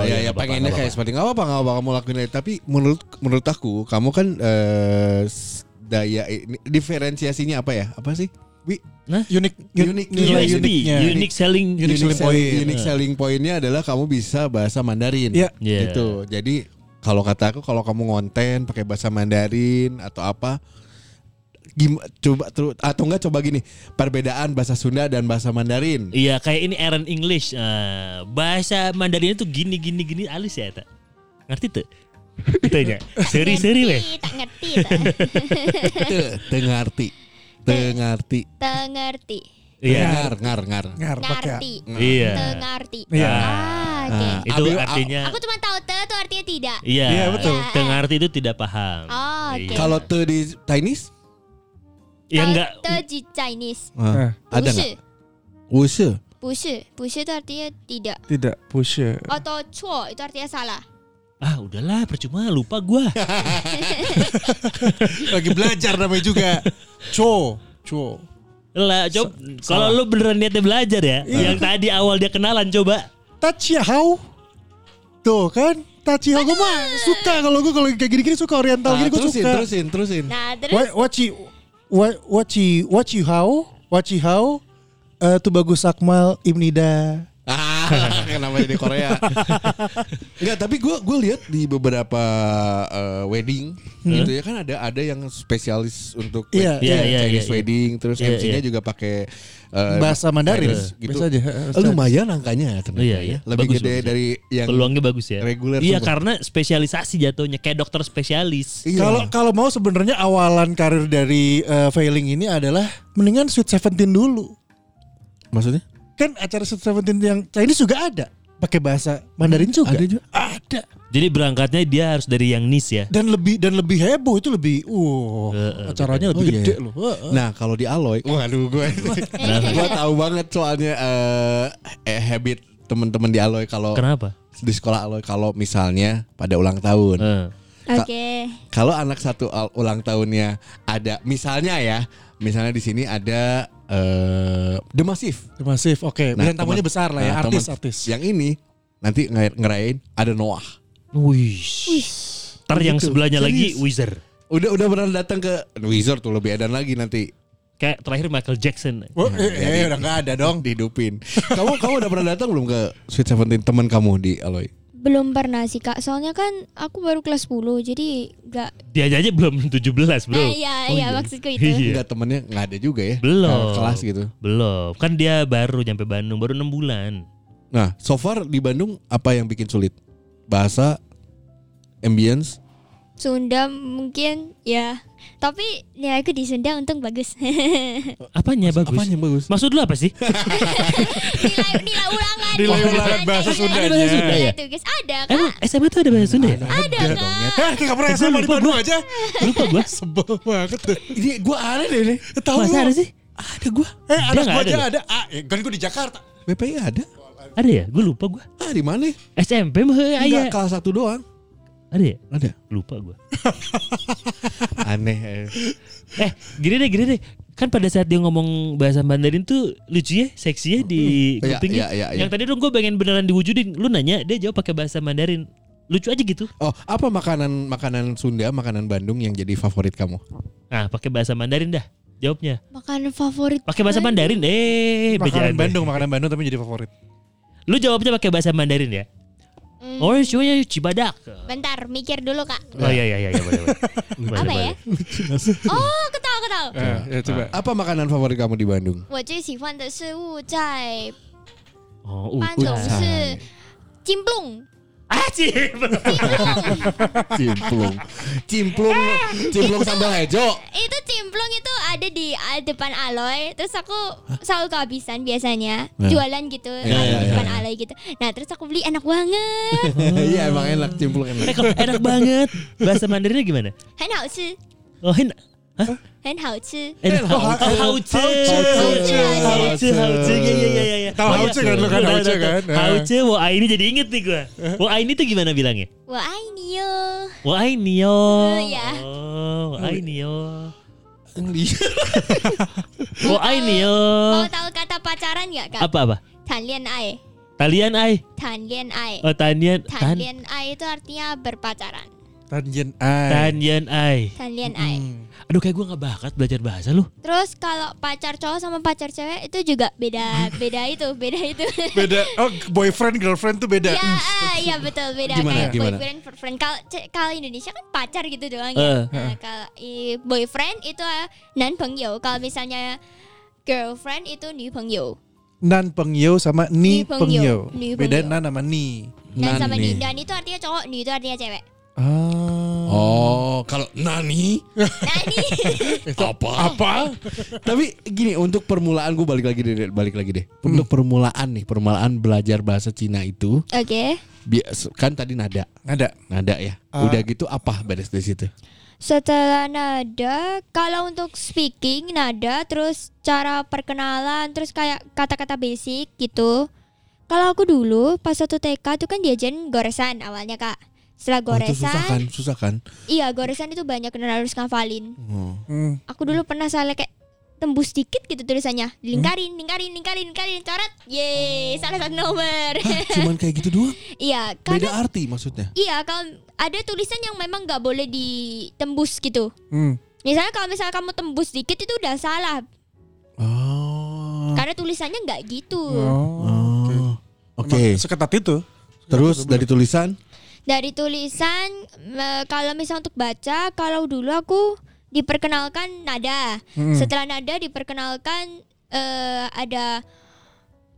[SPEAKER 3] Oh,
[SPEAKER 4] ya,
[SPEAKER 3] iya, nggak
[SPEAKER 4] ya
[SPEAKER 3] apa-apa,
[SPEAKER 4] pengennya
[SPEAKER 3] nggak
[SPEAKER 4] kayak seperti nggak apa-apa nggak apa kamu lakuin aja. Tapi menurut menurut aku kamu kan eh, s- daya ini, diferensiasinya apa ya? Apa sih? Wi,
[SPEAKER 3] Nah,
[SPEAKER 1] Unik
[SPEAKER 4] Unik.
[SPEAKER 1] Nilai
[SPEAKER 3] USP,
[SPEAKER 1] iya, uniknya
[SPEAKER 3] unique selling,
[SPEAKER 1] Unique selling
[SPEAKER 4] sell-
[SPEAKER 1] point.
[SPEAKER 4] unique selling point-nya adalah kamu bisa bahasa Mandarin.
[SPEAKER 1] Iya.
[SPEAKER 3] Iya.
[SPEAKER 4] Gitu. Jadi kalau kata aku kalau kamu ngonten pakai bahasa Mandarin atau apa gim- coba teru- atau enggak coba gini perbedaan bahasa Sunda dan bahasa Mandarin
[SPEAKER 3] Iya kayak ini Aaron English Eh, Bahasa Mandarin itu gini gini gini alis ya tak Ngerti tuh? Tanya Seri seri weh
[SPEAKER 2] Ngerti, Tak ngerti, tak
[SPEAKER 4] Te- tengarti tengarti
[SPEAKER 2] Tak ngerti.
[SPEAKER 3] Iya
[SPEAKER 4] ngar ngar ngar
[SPEAKER 1] Ngar pakai.
[SPEAKER 2] Ngerti.
[SPEAKER 3] Iya
[SPEAKER 2] Tengerti.
[SPEAKER 1] Iya.
[SPEAKER 2] Ah, oke.
[SPEAKER 4] Ah.
[SPEAKER 3] Itu
[SPEAKER 4] Abi-
[SPEAKER 3] artinya
[SPEAKER 2] Aku cuma tahu te itu artinya tidak.
[SPEAKER 3] Iya
[SPEAKER 1] Iya, betul.
[SPEAKER 3] Tengarti itu tidak paham
[SPEAKER 2] Oh, oke.
[SPEAKER 4] kalau te di Chinese
[SPEAKER 3] Ya enggak
[SPEAKER 2] Te di Chinese.
[SPEAKER 3] Eh.
[SPEAKER 4] ah, ada nggak
[SPEAKER 2] Bushi.
[SPEAKER 4] Wushe.
[SPEAKER 2] Bushi. Bushi itu artinya tidak.
[SPEAKER 1] Tidak push. ya.
[SPEAKER 2] Atau cuo itu artinya salah.
[SPEAKER 3] Ah udahlah percuma lupa gua
[SPEAKER 1] Lagi belajar namanya juga. Cho, cho.
[SPEAKER 3] Lah coba Kalau lu beneran niatnya belajar ya Yang
[SPEAKER 4] Iya.
[SPEAKER 3] tadi awal dia kenalan coba
[SPEAKER 1] Tachihau. Tuh kan, Tachihau gue mah suka kalau gue kalau kayak gini-gini suka oriental
[SPEAKER 4] Ah,
[SPEAKER 1] gini gue
[SPEAKER 4] terusin
[SPEAKER 1] suka.
[SPEAKER 4] terusin terusin
[SPEAKER 2] Nah, terus
[SPEAKER 1] Wa- Wachi wa- Wachi Wachi how Wachi how eh, tuh bagus Akmal Ibnida.
[SPEAKER 4] Ah, kenapa jadi Korea? Enggak, tapi gue gue lihat di beberapa eh, wedding gitu ya kan ada ada yang spesialis untuk
[SPEAKER 1] Iya,
[SPEAKER 4] wed-
[SPEAKER 1] iya,
[SPEAKER 3] Hmm?
[SPEAKER 4] Chinese
[SPEAKER 3] iya, iya, iya.
[SPEAKER 4] wedding, terus
[SPEAKER 3] Iya,
[SPEAKER 4] MC-nya
[SPEAKER 3] iya.
[SPEAKER 4] juga pakai eh,
[SPEAKER 1] Bahasa Mandarin.
[SPEAKER 4] Chinese gitu.
[SPEAKER 1] Biasa aja,
[SPEAKER 4] Eh, Lumayan angkanya ternyata.
[SPEAKER 3] Iya,
[SPEAKER 4] ya.
[SPEAKER 3] iya.
[SPEAKER 4] Lebih
[SPEAKER 3] Bagus,
[SPEAKER 4] gede
[SPEAKER 3] bagus.
[SPEAKER 4] dari yang
[SPEAKER 3] Peluangnya bagus ya
[SPEAKER 4] reguler
[SPEAKER 3] Iya
[SPEAKER 4] semua.
[SPEAKER 3] karena spesialisasi jatuhnya Kayak dokter spesialis
[SPEAKER 4] Iya.
[SPEAKER 1] Kalau kalau mau sebenarnya awalan karir dari eh, Failing ini adalah mendingan Sweet Seventeen dulu.
[SPEAKER 4] maksudnya
[SPEAKER 1] Kan acara Sweet Seventeen yang Chinese juga ada pakai bahasa Mandarin juga.
[SPEAKER 4] Ada juga.
[SPEAKER 1] Ada.
[SPEAKER 3] Jadi berangkatnya dia harus dari yang niche ya
[SPEAKER 1] Dan lebih dan lebih heboh itu lebih. Uh, acaranya lebih
[SPEAKER 4] Oh, iya.
[SPEAKER 1] gede loh. Heeh.
[SPEAKER 4] Nah kalau di Aloy, waduh gue, gue tahu banget soalnya eh, eh, habit teman-teman di Aloy kalau
[SPEAKER 3] Kenapa?
[SPEAKER 4] di sekolah Aloy kalau misalnya pada ulang tahun,
[SPEAKER 3] Eh.
[SPEAKER 2] oke.
[SPEAKER 4] kalau anak satu al- ulang tahunnya ada misalnya ya misalnya di sini ada eh The Massive
[SPEAKER 1] The Massive, oke.
[SPEAKER 4] Nah,
[SPEAKER 1] Pilihan tamunya
[SPEAKER 4] teman-
[SPEAKER 1] besar lah ya,
[SPEAKER 4] nah, teman
[SPEAKER 1] artis-artis.
[SPEAKER 4] yang ini nanti nge- ngerayain ada Noah
[SPEAKER 3] Wih. Ntar yang
[SPEAKER 4] Gitu.
[SPEAKER 3] sebelahnya lagi
[SPEAKER 4] Serius.
[SPEAKER 3] Wizard.
[SPEAKER 4] udah udah pernah datang ke Wizard tuh lebih edan lagi nanti Nah,
[SPEAKER 3] Kayak terakhir Michael Jackson.
[SPEAKER 1] Oh, eh, eh, udah nggak ada dong.
[SPEAKER 4] dihidupin kamu kamu udah pernah datang belum ke Sweet Seventeen teman kamu di Aloy
[SPEAKER 2] Belum pernah sih Kak. Soalnya kan aku baru kelas 10 jadi nggak
[SPEAKER 3] Dia aja aja belum 17, Bro. Oh,
[SPEAKER 2] Nah, iya, iya maksudku itu.
[SPEAKER 3] Iya.
[SPEAKER 4] Enggak temennya nggak ada juga ya
[SPEAKER 3] Belum.
[SPEAKER 4] ke kelas gitu
[SPEAKER 3] Belum. Kan dia baru nyampe Bandung, baru 6 bulan.
[SPEAKER 4] nah so far di Bandung apa yang bikin sulit bahasa ambience
[SPEAKER 2] Sunda mungkin ya. Tapi nilaiku di Sunda untung bagus.
[SPEAKER 3] Apanya bagus?
[SPEAKER 4] apanya yang bagus
[SPEAKER 3] Maksud lu apa sih?
[SPEAKER 2] nilai nilai ulangan.
[SPEAKER 1] Nilai ulangan bahasa Sundanya.
[SPEAKER 2] Ada bahasa Sunda
[SPEAKER 3] ya?
[SPEAKER 2] ya? Tugas ada Kak.
[SPEAKER 3] Emang SMA tuh ada bahasa Sunda ya?
[SPEAKER 2] Ada Kak.
[SPEAKER 1] Hah, kayak nggak pernah
[SPEAKER 3] Tapi
[SPEAKER 1] SMA di
[SPEAKER 3] lupa
[SPEAKER 1] Bandung aja. Eh,
[SPEAKER 3] Lupa gua.
[SPEAKER 1] Sebel banget tuh.
[SPEAKER 4] ini gue aneh deh ini.
[SPEAKER 1] Tahu
[SPEAKER 3] Masa
[SPEAKER 1] lu.
[SPEAKER 3] ada sih?
[SPEAKER 4] ada gue
[SPEAKER 1] Eh, anak
[SPEAKER 3] nggak
[SPEAKER 1] gua
[SPEAKER 3] ada
[SPEAKER 1] aja
[SPEAKER 3] loh.
[SPEAKER 1] ada. Ah, eh, kan gua di Jakarta.
[SPEAKER 4] BPI ada
[SPEAKER 3] Ada ya? Gua lupa gua.
[SPEAKER 4] Ah di mana?
[SPEAKER 3] SMP mah aya.
[SPEAKER 4] Enggak kelas satu doang.
[SPEAKER 3] Ada ya?
[SPEAKER 4] Ada.
[SPEAKER 3] Lupa gua.
[SPEAKER 4] Ah. Aneh.
[SPEAKER 3] Eh, gini deh, gini deh. Kan pada saat dia ngomong bahasa Mandarin tuh lucu ya, seksi ya di
[SPEAKER 4] Iya,
[SPEAKER 3] kupingnya.
[SPEAKER 4] iya, iya, iya.
[SPEAKER 3] Yang tadi dong gue pengen beneran diwujudin. Lu nanya, dia jawab pakai bahasa Mandarin. Lucu aja gitu.
[SPEAKER 4] Oh, apa makanan makanan Sunda, makanan Bandung yang jadi favorit kamu?
[SPEAKER 3] Nah, pakai bahasa Mandarin dah jawabnya.
[SPEAKER 2] Makanan favorit.
[SPEAKER 3] Pakai bahasa Mandarin. Eh,
[SPEAKER 1] Makanan
[SPEAKER 3] bejaan.
[SPEAKER 1] Bandung, makanan Bandung tapi jadi favorit.
[SPEAKER 3] Lu jawabnya pakai bahasa Mandarin ya?
[SPEAKER 2] Hmm.
[SPEAKER 3] Oh, cuy, cibadak.
[SPEAKER 4] Iya.
[SPEAKER 2] Bentar, mikir dulu Kak.
[SPEAKER 3] Oh iya iya iya iya boleh. boleh.
[SPEAKER 2] Apa
[SPEAKER 3] Boleh,
[SPEAKER 2] ya? Oh, ketahu ketahu.
[SPEAKER 1] ya coba.
[SPEAKER 4] Apa makanan favorit kamu di Bandung?
[SPEAKER 2] 我最喜欢的食物在
[SPEAKER 3] Uhuh, boleh. Oh, uh,
[SPEAKER 2] 班农是金泵，
[SPEAKER 3] Ah, cibadak.
[SPEAKER 4] Cimplung. Cimplung.
[SPEAKER 1] Eh.
[SPEAKER 4] Cimplung sambal hejo.
[SPEAKER 2] itu cimplung itu ada di ah, depan Aloy terus aku selalu kehabisan biasanya
[SPEAKER 4] Nah.
[SPEAKER 2] jualan gitu
[SPEAKER 4] iya,
[SPEAKER 2] ada
[SPEAKER 4] iya,
[SPEAKER 2] di depan Aloy gitu nah terus aku beli enak banget
[SPEAKER 4] Iya emang enak cimplung
[SPEAKER 3] Eh,
[SPEAKER 4] enak.
[SPEAKER 3] kok enak banget. Bahasa Mandarinnya gimana?
[SPEAKER 2] 很好吃
[SPEAKER 3] Oh, enak.
[SPEAKER 2] 很好吃
[SPEAKER 3] Enak.
[SPEAKER 1] hau-
[SPEAKER 3] Hauce, hauce, hauce,
[SPEAKER 1] hauce,
[SPEAKER 3] hauce, hauce. Ya, ya, ya, ya, ya.
[SPEAKER 1] Tahu hauce kan, lu kan
[SPEAKER 3] Tahu,
[SPEAKER 1] hauce
[SPEAKER 3] tahu,
[SPEAKER 1] kan? Eh.
[SPEAKER 3] tahu. Hauce, wah ini jadi inget nih gua. Wah ini tuh gimana bilangnya?
[SPEAKER 2] 我爱你哟
[SPEAKER 3] Wah ini yo.
[SPEAKER 2] Oh, iya.
[SPEAKER 3] Oh, wah ini yo.
[SPEAKER 4] Iya.
[SPEAKER 3] Wah ini yo.
[SPEAKER 2] mau tahu kata pacaran nggak kak
[SPEAKER 3] Apa apa?
[SPEAKER 2] 谈恋爱
[SPEAKER 3] Talian ai.
[SPEAKER 2] 谈恋爱
[SPEAKER 3] Oh, tanian. Tan.
[SPEAKER 2] 谈恋爱 itu artinya berpacaran
[SPEAKER 1] Tanjen ai.
[SPEAKER 3] Tanyan ai.
[SPEAKER 2] kalian ai.
[SPEAKER 3] Aduh kayak gue nggak bakat belajar bahasa lu.
[SPEAKER 2] Terus kalau pacar cowok sama pacar cewek itu juga beda beda itu, beda itu.
[SPEAKER 1] Beda oh boyfriend girlfriend tuh beda.
[SPEAKER 2] ya, ah, ya betul beda
[SPEAKER 4] Iya, Gimana,
[SPEAKER 2] kayak
[SPEAKER 4] gimana?
[SPEAKER 2] boyfriend boyfriend. Kalau ce- kalau Indonesia kan pacar gitu doang
[SPEAKER 3] Eh.
[SPEAKER 2] ya. Nah, kalau i- boyfriend itu eh, nan pengyou. Kalau misalnya girlfriend itu ni pengyou.
[SPEAKER 1] Nan pengyou sama ni
[SPEAKER 2] Ni pengyou.
[SPEAKER 1] pengyou.
[SPEAKER 2] Ni
[SPEAKER 1] Beda
[SPEAKER 2] pengyou.
[SPEAKER 1] nan sama ni.
[SPEAKER 2] Dan
[SPEAKER 4] Nan
[SPEAKER 2] sama
[SPEAKER 4] nih.
[SPEAKER 2] ni. Dan itu artinya cowok, ni itu artinya cewek.
[SPEAKER 1] Ah.
[SPEAKER 4] Oh, kalau nani
[SPEAKER 2] Nah, ini
[SPEAKER 4] apa? Apa? Tapi gini, untuk permulaan gue balik lagi deh, balik lagi deh. Untuk permulaan nih, permulaan belajar bahasa Cina itu
[SPEAKER 2] Oke.
[SPEAKER 4] bias- kan tadi nada,
[SPEAKER 1] Ada.
[SPEAKER 4] nada ya.
[SPEAKER 1] Ah.
[SPEAKER 4] Udah gitu apa beres dari situ?
[SPEAKER 2] Setelah nada, kalau untuk speaking nada, terus cara perkenalan, terus kayak kata-kata basic gitu. Kalau aku dulu pas satu TK itu kan diajarin goresan awalnya kak. Setelah
[SPEAKER 4] Oh, itu
[SPEAKER 2] goresan,
[SPEAKER 4] susah kan, susah kan?
[SPEAKER 2] iya goresan itu banyak yang harus ngafalin.
[SPEAKER 4] Oh.
[SPEAKER 1] Hmm.
[SPEAKER 2] Aku dulu pernah salah kayak tembus dikit gitu tulisannya, lingkarin, lingkarin, lingkarin, lingkarin, coret,
[SPEAKER 4] Oh.
[SPEAKER 2] yeay, salah satu nomor.
[SPEAKER 4] Cuman kayak gitu doang.
[SPEAKER 2] iya,
[SPEAKER 4] Beda
[SPEAKER 2] karena
[SPEAKER 4] arti maksudnya.
[SPEAKER 2] iya kalau ada tulisan yang memang nggak boleh ditembus gitu.
[SPEAKER 1] Hmm.
[SPEAKER 2] Misalnya kalau misalnya kamu tembus dikit itu udah salah
[SPEAKER 4] Oh.
[SPEAKER 2] karena tulisannya nggak gitu.
[SPEAKER 1] Oh. Oke.
[SPEAKER 4] Oh. Oke.
[SPEAKER 1] Emang Seketat itu.
[SPEAKER 4] Terus dari tulisan
[SPEAKER 2] Dari tulisan me- kalau misalnya untuk baca kalau dulu aku diperkenalkan nada.
[SPEAKER 1] Hmm.
[SPEAKER 2] Setelah nada diperkenalkan eh, ada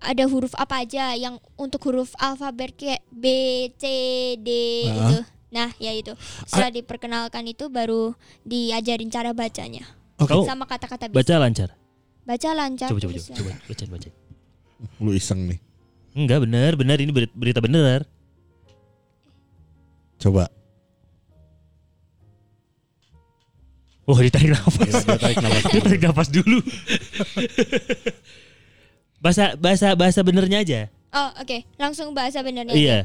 [SPEAKER 2] ada huruf apa aja yang untuk huruf alfabet kayak B C D itu. Nah, ya itu. Setelah diperkenalkan itu baru diajarin cara bacanya.
[SPEAKER 3] Kamu
[SPEAKER 2] Sama kata-kata basic.
[SPEAKER 3] baca lancar.
[SPEAKER 2] Baca lancar.
[SPEAKER 3] Coba coba coba
[SPEAKER 2] tulisan.
[SPEAKER 3] coba baca baca.
[SPEAKER 4] lu iseng nih.
[SPEAKER 3] Enggak bener bener ini beri- berita bener.
[SPEAKER 4] Coba.
[SPEAKER 3] Wah ditarik nafas.
[SPEAKER 4] Tarik nafas dulu.
[SPEAKER 3] Tarik nafas dulu. bahasa bahasa bahasa benernya aja.
[SPEAKER 2] Oh, oke. Langsung bahasa benernya.
[SPEAKER 3] Iya.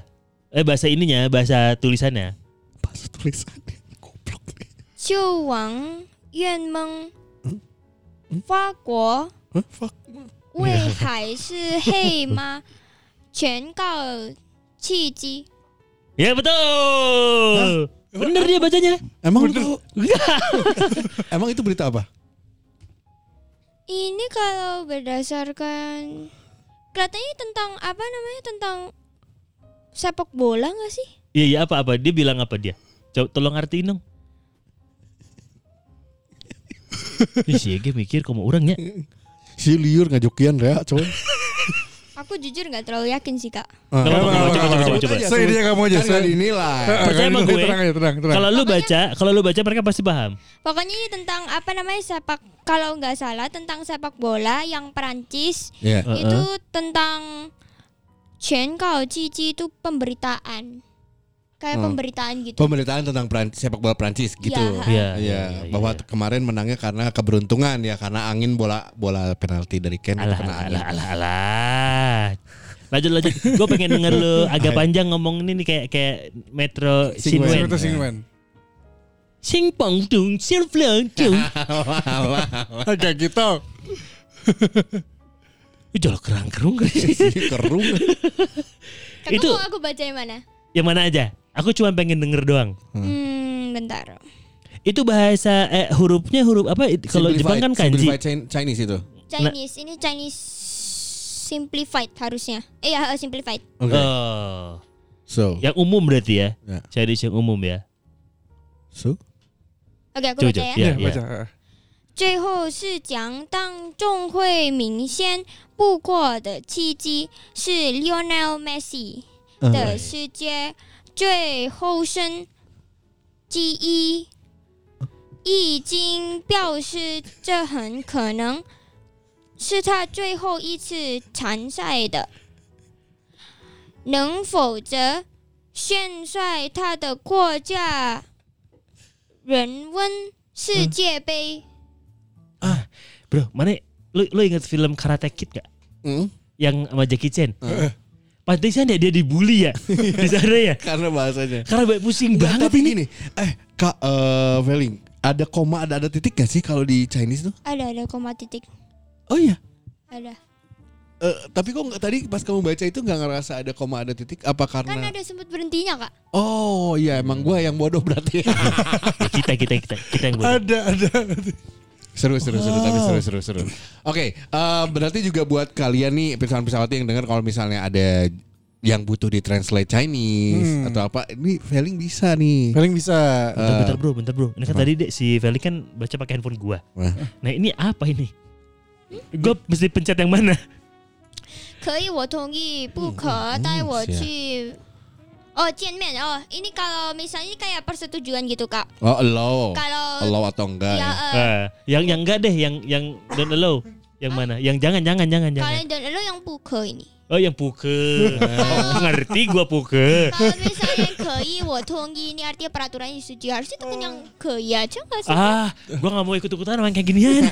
[SPEAKER 3] Eh bahasa ininya, bahasa tulisannya.
[SPEAKER 4] Bahasa tulisannya goblok.
[SPEAKER 2] 就王愿蒙，法国
[SPEAKER 4] Hah, fuck.
[SPEAKER 2] 为海是黑吗？ 全告契机。
[SPEAKER 3] Ya betul. Bener dia bacanya.
[SPEAKER 4] Emang lu tahu? Emang itu berita apa?
[SPEAKER 2] Ini kalau berdasarkan katanya tentang apa namanya tentang sepak bola nggak sih?
[SPEAKER 3] Iya iya apa apa dia bilang apa dia? Coba tolong artiin dong. Ih, si Ege mikir kamu orangnya.
[SPEAKER 4] Si liur ngajokian rea coy.
[SPEAKER 2] Aku jujur nggak terlalu yakin sih kak.
[SPEAKER 3] Gak apa-apa,
[SPEAKER 1] Coba,
[SPEAKER 3] coba, coba, coba, coba.
[SPEAKER 1] Saya dia kamu aja.
[SPEAKER 4] Kan
[SPEAKER 1] saya-
[SPEAKER 4] gak dinilai.
[SPEAKER 1] Eh, eh,
[SPEAKER 3] Percaya sama
[SPEAKER 1] tenang,
[SPEAKER 3] gue.
[SPEAKER 1] Tenang aja, tenang, tenang.
[SPEAKER 3] Kalau lu baca, kalau lu baca mereka pasti paham.
[SPEAKER 2] Pokoknya ini tentang apa namanya sepak kalau nggak salah tentang sepak bola yang Perancis
[SPEAKER 4] Iya.
[SPEAKER 3] Heeh.
[SPEAKER 2] itu tentang Chen Kao Cici itu pemberitaan kayak
[SPEAKER 4] Hmm.
[SPEAKER 2] pemberitaan gitu
[SPEAKER 4] Pemberitaan tentang Peran- sepak bola Prancis gitu.
[SPEAKER 2] Iya.
[SPEAKER 3] Oh, Iya. iya,
[SPEAKER 4] Iya,
[SPEAKER 3] iya,
[SPEAKER 4] bahwa
[SPEAKER 3] iya.
[SPEAKER 4] kemarin menangnya karena keberuntungan ya karena angin bola bola penalti dari Ken
[SPEAKER 3] alah
[SPEAKER 4] kena
[SPEAKER 3] alah
[SPEAKER 4] angin.
[SPEAKER 3] alah alah. alah. Lanjut lanjut. Gue pengen denger lu agak panjang ngomong ini nih kayak kayak Metro
[SPEAKER 4] Singwen.
[SPEAKER 1] Singwen
[SPEAKER 3] Shinwen.
[SPEAKER 1] atau Singwen?
[SPEAKER 3] Sing pong dung, sing fleng dung.
[SPEAKER 1] Agak gitu.
[SPEAKER 3] Ih, Jol kerang kerung.
[SPEAKER 4] Kerung.
[SPEAKER 2] Kamu
[SPEAKER 3] Itu-
[SPEAKER 2] mau aku baca yang mana
[SPEAKER 3] Yang mana aja? Aku cuma pengen denger doang.
[SPEAKER 2] hmm. bentar
[SPEAKER 3] Itu bahasa eh, hurufnya huruf apa? It- Kalau Jepang kan kanji.
[SPEAKER 4] Simplified Chin- Chinese itu.
[SPEAKER 2] Chinese ini Chinese simplified harusnya eh ya eh, simplified
[SPEAKER 4] Oke.
[SPEAKER 3] Oh,
[SPEAKER 4] So.
[SPEAKER 3] yang umum berarti ya?
[SPEAKER 4] Ya.
[SPEAKER 3] Chinese yang umum ya.
[SPEAKER 4] So.
[SPEAKER 2] oke aku
[SPEAKER 3] Coba,
[SPEAKER 2] baca
[SPEAKER 3] coba.
[SPEAKER 2] ya
[SPEAKER 3] Iya,
[SPEAKER 1] Iya,
[SPEAKER 3] iya.
[SPEAKER 1] baca.
[SPEAKER 2] 最后是讲当众会明显不过的契机是 Lionel Messi 的世界最后生之一，已经表示这很可能是他最后一次参赛的，能否则现在他的国家人温世界杯？
[SPEAKER 4] Ah,
[SPEAKER 3] Bro, mana lu lu ingat film Karate Kid gak?
[SPEAKER 4] Hmm,
[SPEAKER 3] Yang sama Jackie Chan. Pantesan ya dia dibully ya di sana ya.
[SPEAKER 4] karena bahasanya.
[SPEAKER 3] Karena banyak pusing
[SPEAKER 4] Nggak,
[SPEAKER 3] banget
[SPEAKER 4] Iya. tapi
[SPEAKER 3] ini.
[SPEAKER 4] gini. Eh, Kak eh, Veling, ada koma ada ada titik gak sih kalau di Chinese tuh?
[SPEAKER 2] Ada ada koma titik
[SPEAKER 4] Oh iya.
[SPEAKER 2] ada.
[SPEAKER 4] eh, tapi kok nggak- tadi pas kamu baca itu nggak ngerasa ada koma ada titik apa
[SPEAKER 2] Kan
[SPEAKER 3] Nah.
[SPEAKER 4] karena
[SPEAKER 2] ada sempat berhentinya kak.
[SPEAKER 4] Oh iya emang gua yang bodoh berarti.
[SPEAKER 3] Ya, kita kita kita kita yang bodoh.
[SPEAKER 1] Ada ada.
[SPEAKER 4] seru seru seru tapi seru seru seru. Oke, eh, berarti juga buat kalian nih pesawat-pesawat yang dengar kalau misalnya ada yang butuh di translate Chinese
[SPEAKER 3] Hmm.
[SPEAKER 4] atau apa, ini Feling bisa nih.
[SPEAKER 1] Paling bisa.
[SPEAKER 3] Bentar, bentar bro, bentar bro. Ini kan tadi dek si Feli kan baca pakai handphone gua.
[SPEAKER 4] Wah.
[SPEAKER 3] Nah ini apa ini? Gua mesti pencet yang mana?
[SPEAKER 2] 可以，我同意，不
[SPEAKER 3] Hmm,
[SPEAKER 2] 可带我去。Oh, ciuman. Oh, ini kalau misalnya kayak persetujuan gitu, Kak.
[SPEAKER 4] Oh, allow.
[SPEAKER 2] Kalau
[SPEAKER 4] Allow atau enggak? Ya.
[SPEAKER 2] ya, eh,
[SPEAKER 3] Ah, yang yang enggak deh, yang yang don't allow. Yang mana? Yang jangan jangan jangan jangan.
[SPEAKER 2] kalau dan lo yang puke ini.
[SPEAKER 3] Oh yang puke. Oh, ngerti gua puke.
[SPEAKER 2] Kalau misalnya kei, wo tonggi ini artinya peraturan yang setuju. Harusnya itu kan yang
[SPEAKER 3] Oh.
[SPEAKER 2] kei aja nggak sih?
[SPEAKER 3] Ah, gua nggak mau ikut ikutan sama yang kayak ginian.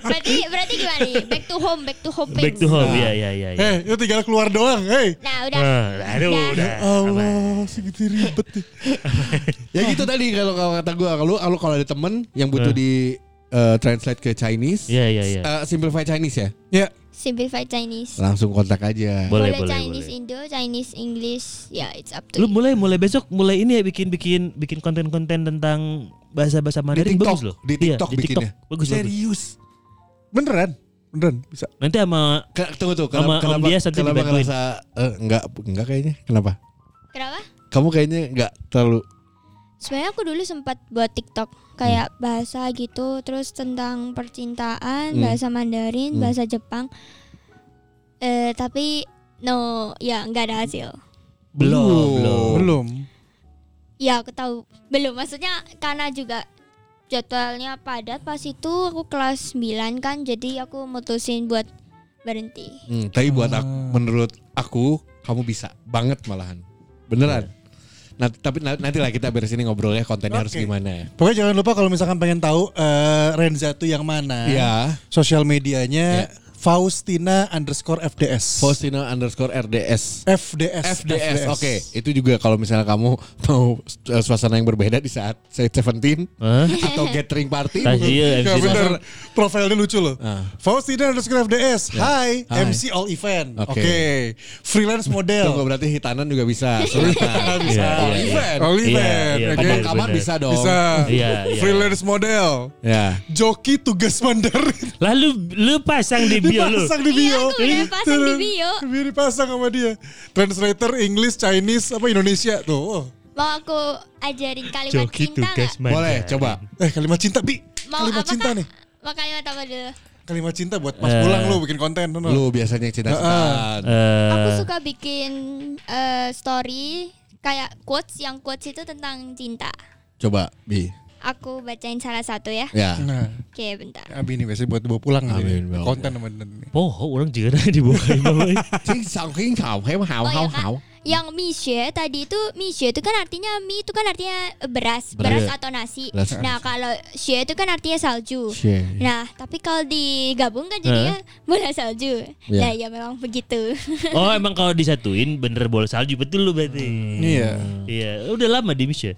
[SPEAKER 2] Berarti berarti gimana nih? Back to home, back to home.
[SPEAKER 3] Back
[SPEAKER 2] babes.
[SPEAKER 3] to
[SPEAKER 4] Nah.
[SPEAKER 3] home, ya ya ya. ya.
[SPEAKER 1] Eh, itu tinggal keluar doang. Hey.
[SPEAKER 2] Nah, udah.
[SPEAKER 3] Ah,
[SPEAKER 4] Ya
[SPEAKER 3] aduh,
[SPEAKER 2] Udah.
[SPEAKER 3] udah. Aman.
[SPEAKER 1] Allah, segitu ribet. nih.
[SPEAKER 4] gitu tadi kalau kalau kata gua kalau kalau kalau ada temen yang butuh
[SPEAKER 3] Eh.
[SPEAKER 4] di eh, translate ke Chinese,
[SPEAKER 3] Ya ya ya.
[SPEAKER 4] eh, simplify Chinese ya.
[SPEAKER 1] ya,
[SPEAKER 2] Simplify Chinese.
[SPEAKER 4] Langsung kontak aja.
[SPEAKER 3] Boleh boleh.
[SPEAKER 2] Chinese
[SPEAKER 3] boleh.
[SPEAKER 2] Indo, Chinese English. Ya, it's up to
[SPEAKER 3] Lu
[SPEAKER 2] you.
[SPEAKER 3] mulai mulai besok mulai ini ya bikin bikin bikin konten-konten tentang bahasa-bahasa Mandarin
[SPEAKER 4] TikTok,
[SPEAKER 3] bagus loh.
[SPEAKER 4] di
[SPEAKER 3] Iya,
[SPEAKER 4] TikTok bikinnya.
[SPEAKER 3] Bagus bagus.
[SPEAKER 4] Serius.
[SPEAKER 1] beneran, beneran bisa.
[SPEAKER 3] Nanti sama
[SPEAKER 4] Ke- Tunggu tuh,
[SPEAKER 3] Sama
[SPEAKER 4] kenapa
[SPEAKER 3] Om
[SPEAKER 4] kenapa,
[SPEAKER 3] Dias nanti
[SPEAKER 4] kenapa
[SPEAKER 3] dibantuin.
[SPEAKER 4] ngerasa eh, enggak enggak kayaknya? Kenapa?
[SPEAKER 2] Kenapa?
[SPEAKER 4] Kamu kayaknya enggak terlalu
[SPEAKER 2] Sebenarnya aku dulu sempat buat TikTok kayak
[SPEAKER 1] Hmm.
[SPEAKER 2] bahasa gitu, terus tentang percintaan,
[SPEAKER 4] Hmm.
[SPEAKER 2] bahasa Mandarin,
[SPEAKER 4] Hmm.
[SPEAKER 2] bahasa Jepang. Eh tapi no, ya nggak ada hasil.
[SPEAKER 3] belum
[SPEAKER 4] Belum.
[SPEAKER 3] belum.
[SPEAKER 1] Belum.
[SPEAKER 2] Ya aku tahu belum. Maksudnya karena juga jadwalnya padat pas itu aku kelas 9 kan, jadi aku mutusin buat berhenti.
[SPEAKER 4] Hmm, tapi buat aku,
[SPEAKER 3] Ah.
[SPEAKER 4] menurut aku kamu bisa banget malahan. Beneran.
[SPEAKER 3] Iya.
[SPEAKER 4] Nah, tapi na- nanti lah kita beres ini ngobrolnya kontennya harus
[SPEAKER 1] Oke.
[SPEAKER 4] gimana.
[SPEAKER 1] Pokoknya jangan lupa kalau misalkan pengen tahu eh, Renza tuh yang mana.
[SPEAKER 4] Iya.
[SPEAKER 3] Eh.
[SPEAKER 1] Sosial medianya
[SPEAKER 4] Ya.
[SPEAKER 1] Faustina underscore FDS.
[SPEAKER 4] Faustino underscore RDS.
[SPEAKER 1] FDS.
[SPEAKER 4] FDS, oke. Itu juga kalau misalnya kamu mau suasana yang berbeda di saat saya 17
[SPEAKER 3] Hah?
[SPEAKER 4] atau gathering party.
[SPEAKER 1] Ya,
[SPEAKER 3] Tajil, MC.
[SPEAKER 1] bener. Profilnya lucu loh.
[SPEAKER 4] Ah.
[SPEAKER 1] Faustina underscore FDS. Hai,
[SPEAKER 4] Hai.
[SPEAKER 1] MC all event. Oke.
[SPEAKER 4] Oke.
[SPEAKER 1] Freelance
[SPEAKER 4] Tunggu
[SPEAKER 1] model.
[SPEAKER 4] berarti hitanan juga bisa. Selatan.
[SPEAKER 1] Bisa.
[SPEAKER 3] Iya,
[SPEAKER 1] all
[SPEAKER 3] iya,
[SPEAKER 1] event.
[SPEAKER 4] iya.
[SPEAKER 1] All event.
[SPEAKER 3] Iya, iya,
[SPEAKER 1] oke.
[SPEAKER 4] Ngomong
[SPEAKER 3] Bener,
[SPEAKER 4] kamar
[SPEAKER 3] bener.
[SPEAKER 4] bisa dong.
[SPEAKER 1] Bisa.
[SPEAKER 3] Iya, iya.
[SPEAKER 1] Freelance model.
[SPEAKER 4] Ya.
[SPEAKER 1] Joki tugas Mandarin.
[SPEAKER 3] Lalu lu pasang di bio lu.
[SPEAKER 1] Dipasang di bio.
[SPEAKER 2] Iya, aku udah pasang di bio.
[SPEAKER 1] Bio dipasang sama dia. Translator English, Chinese, apa Indonesia tuh. Oh.
[SPEAKER 2] Mau aku ajarin kalimat cinta nggak?
[SPEAKER 4] Boleh
[SPEAKER 3] Iya.
[SPEAKER 4] coba.
[SPEAKER 1] Eh kalimat cinta bi.
[SPEAKER 2] Mau
[SPEAKER 1] kalimat
[SPEAKER 2] apa,
[SPEAKER 1] cinta
[SPEAKER 2] Kak?
[SPEAKER 1] nih.
[SPEAKER 2] Mau kalimat apa dulu?
[SPEAKER 1] Kalimat cinta buat pas
[SPEAKER 3] Eh.
[SPEAKER 1] pulang lu bikin konten. no,
[SPEAKER 3] Iya.
[SPEAKER 1] no.
[SPEAKER 4] Lu biasanya cinta-cintaan.
[SPEAKER 2] Aku suka bikin eh, story kayak quotes yang quotes itu tentang cinta.
[SPEAKER 4] Coba Bi.
[SPEAKER 2] Aku bacain salah satu ya.
[SPEAKER 4] Ya.
[SPEAKER 1] Nah,
[SPEAKER 2] Oke, bentar.
[SPEAKER 1] Abi ini biasanya buat bawa pulang
[SPEAKER 4] Abi
[SPEAKER 1] nih,
[SPEAKER 4] ini bawa
[SPEAKER 1] konten sama Denden.
[SPEAKER 3] Poho Oh, orang juga dibuka
[SPEAKER 4] Cing saking kau hau hau
[SPEAKER 2] Oh,
[SPEAKER 4] hau
[SPEAKER 2] ya, Kak.
[SPEAKER 4] hau.
[SPEAKER 2] Yang mie xue tadi itu mie xue itu kan artinya mie itu kan artinya beras,
[SPEAKER 4] Beras.
[SPEAKER 2] beras atau nasi.
[SPEAKER 4] Beras.
[SPEAKER 2] Nah, kalau xue itu kan artinya salju.
[SPEAKER 4] Cie.
[SPEAKER 2] Nah, tapi kalau digabungkan jadinya bola salju.
[SPEAKER 4] Iya.
[SPEAKER 2] Nah, ya memang begitu.
[SPEAKER 3] Oh emang kalau disatuin bener bola salju betul lu
[SPEAKER 2] Hmm.
[SPEAKER 3] berarti.
[SPEAKER 1] Iya.
[SPEAKER 3] Iya, udah lama di Miss ya.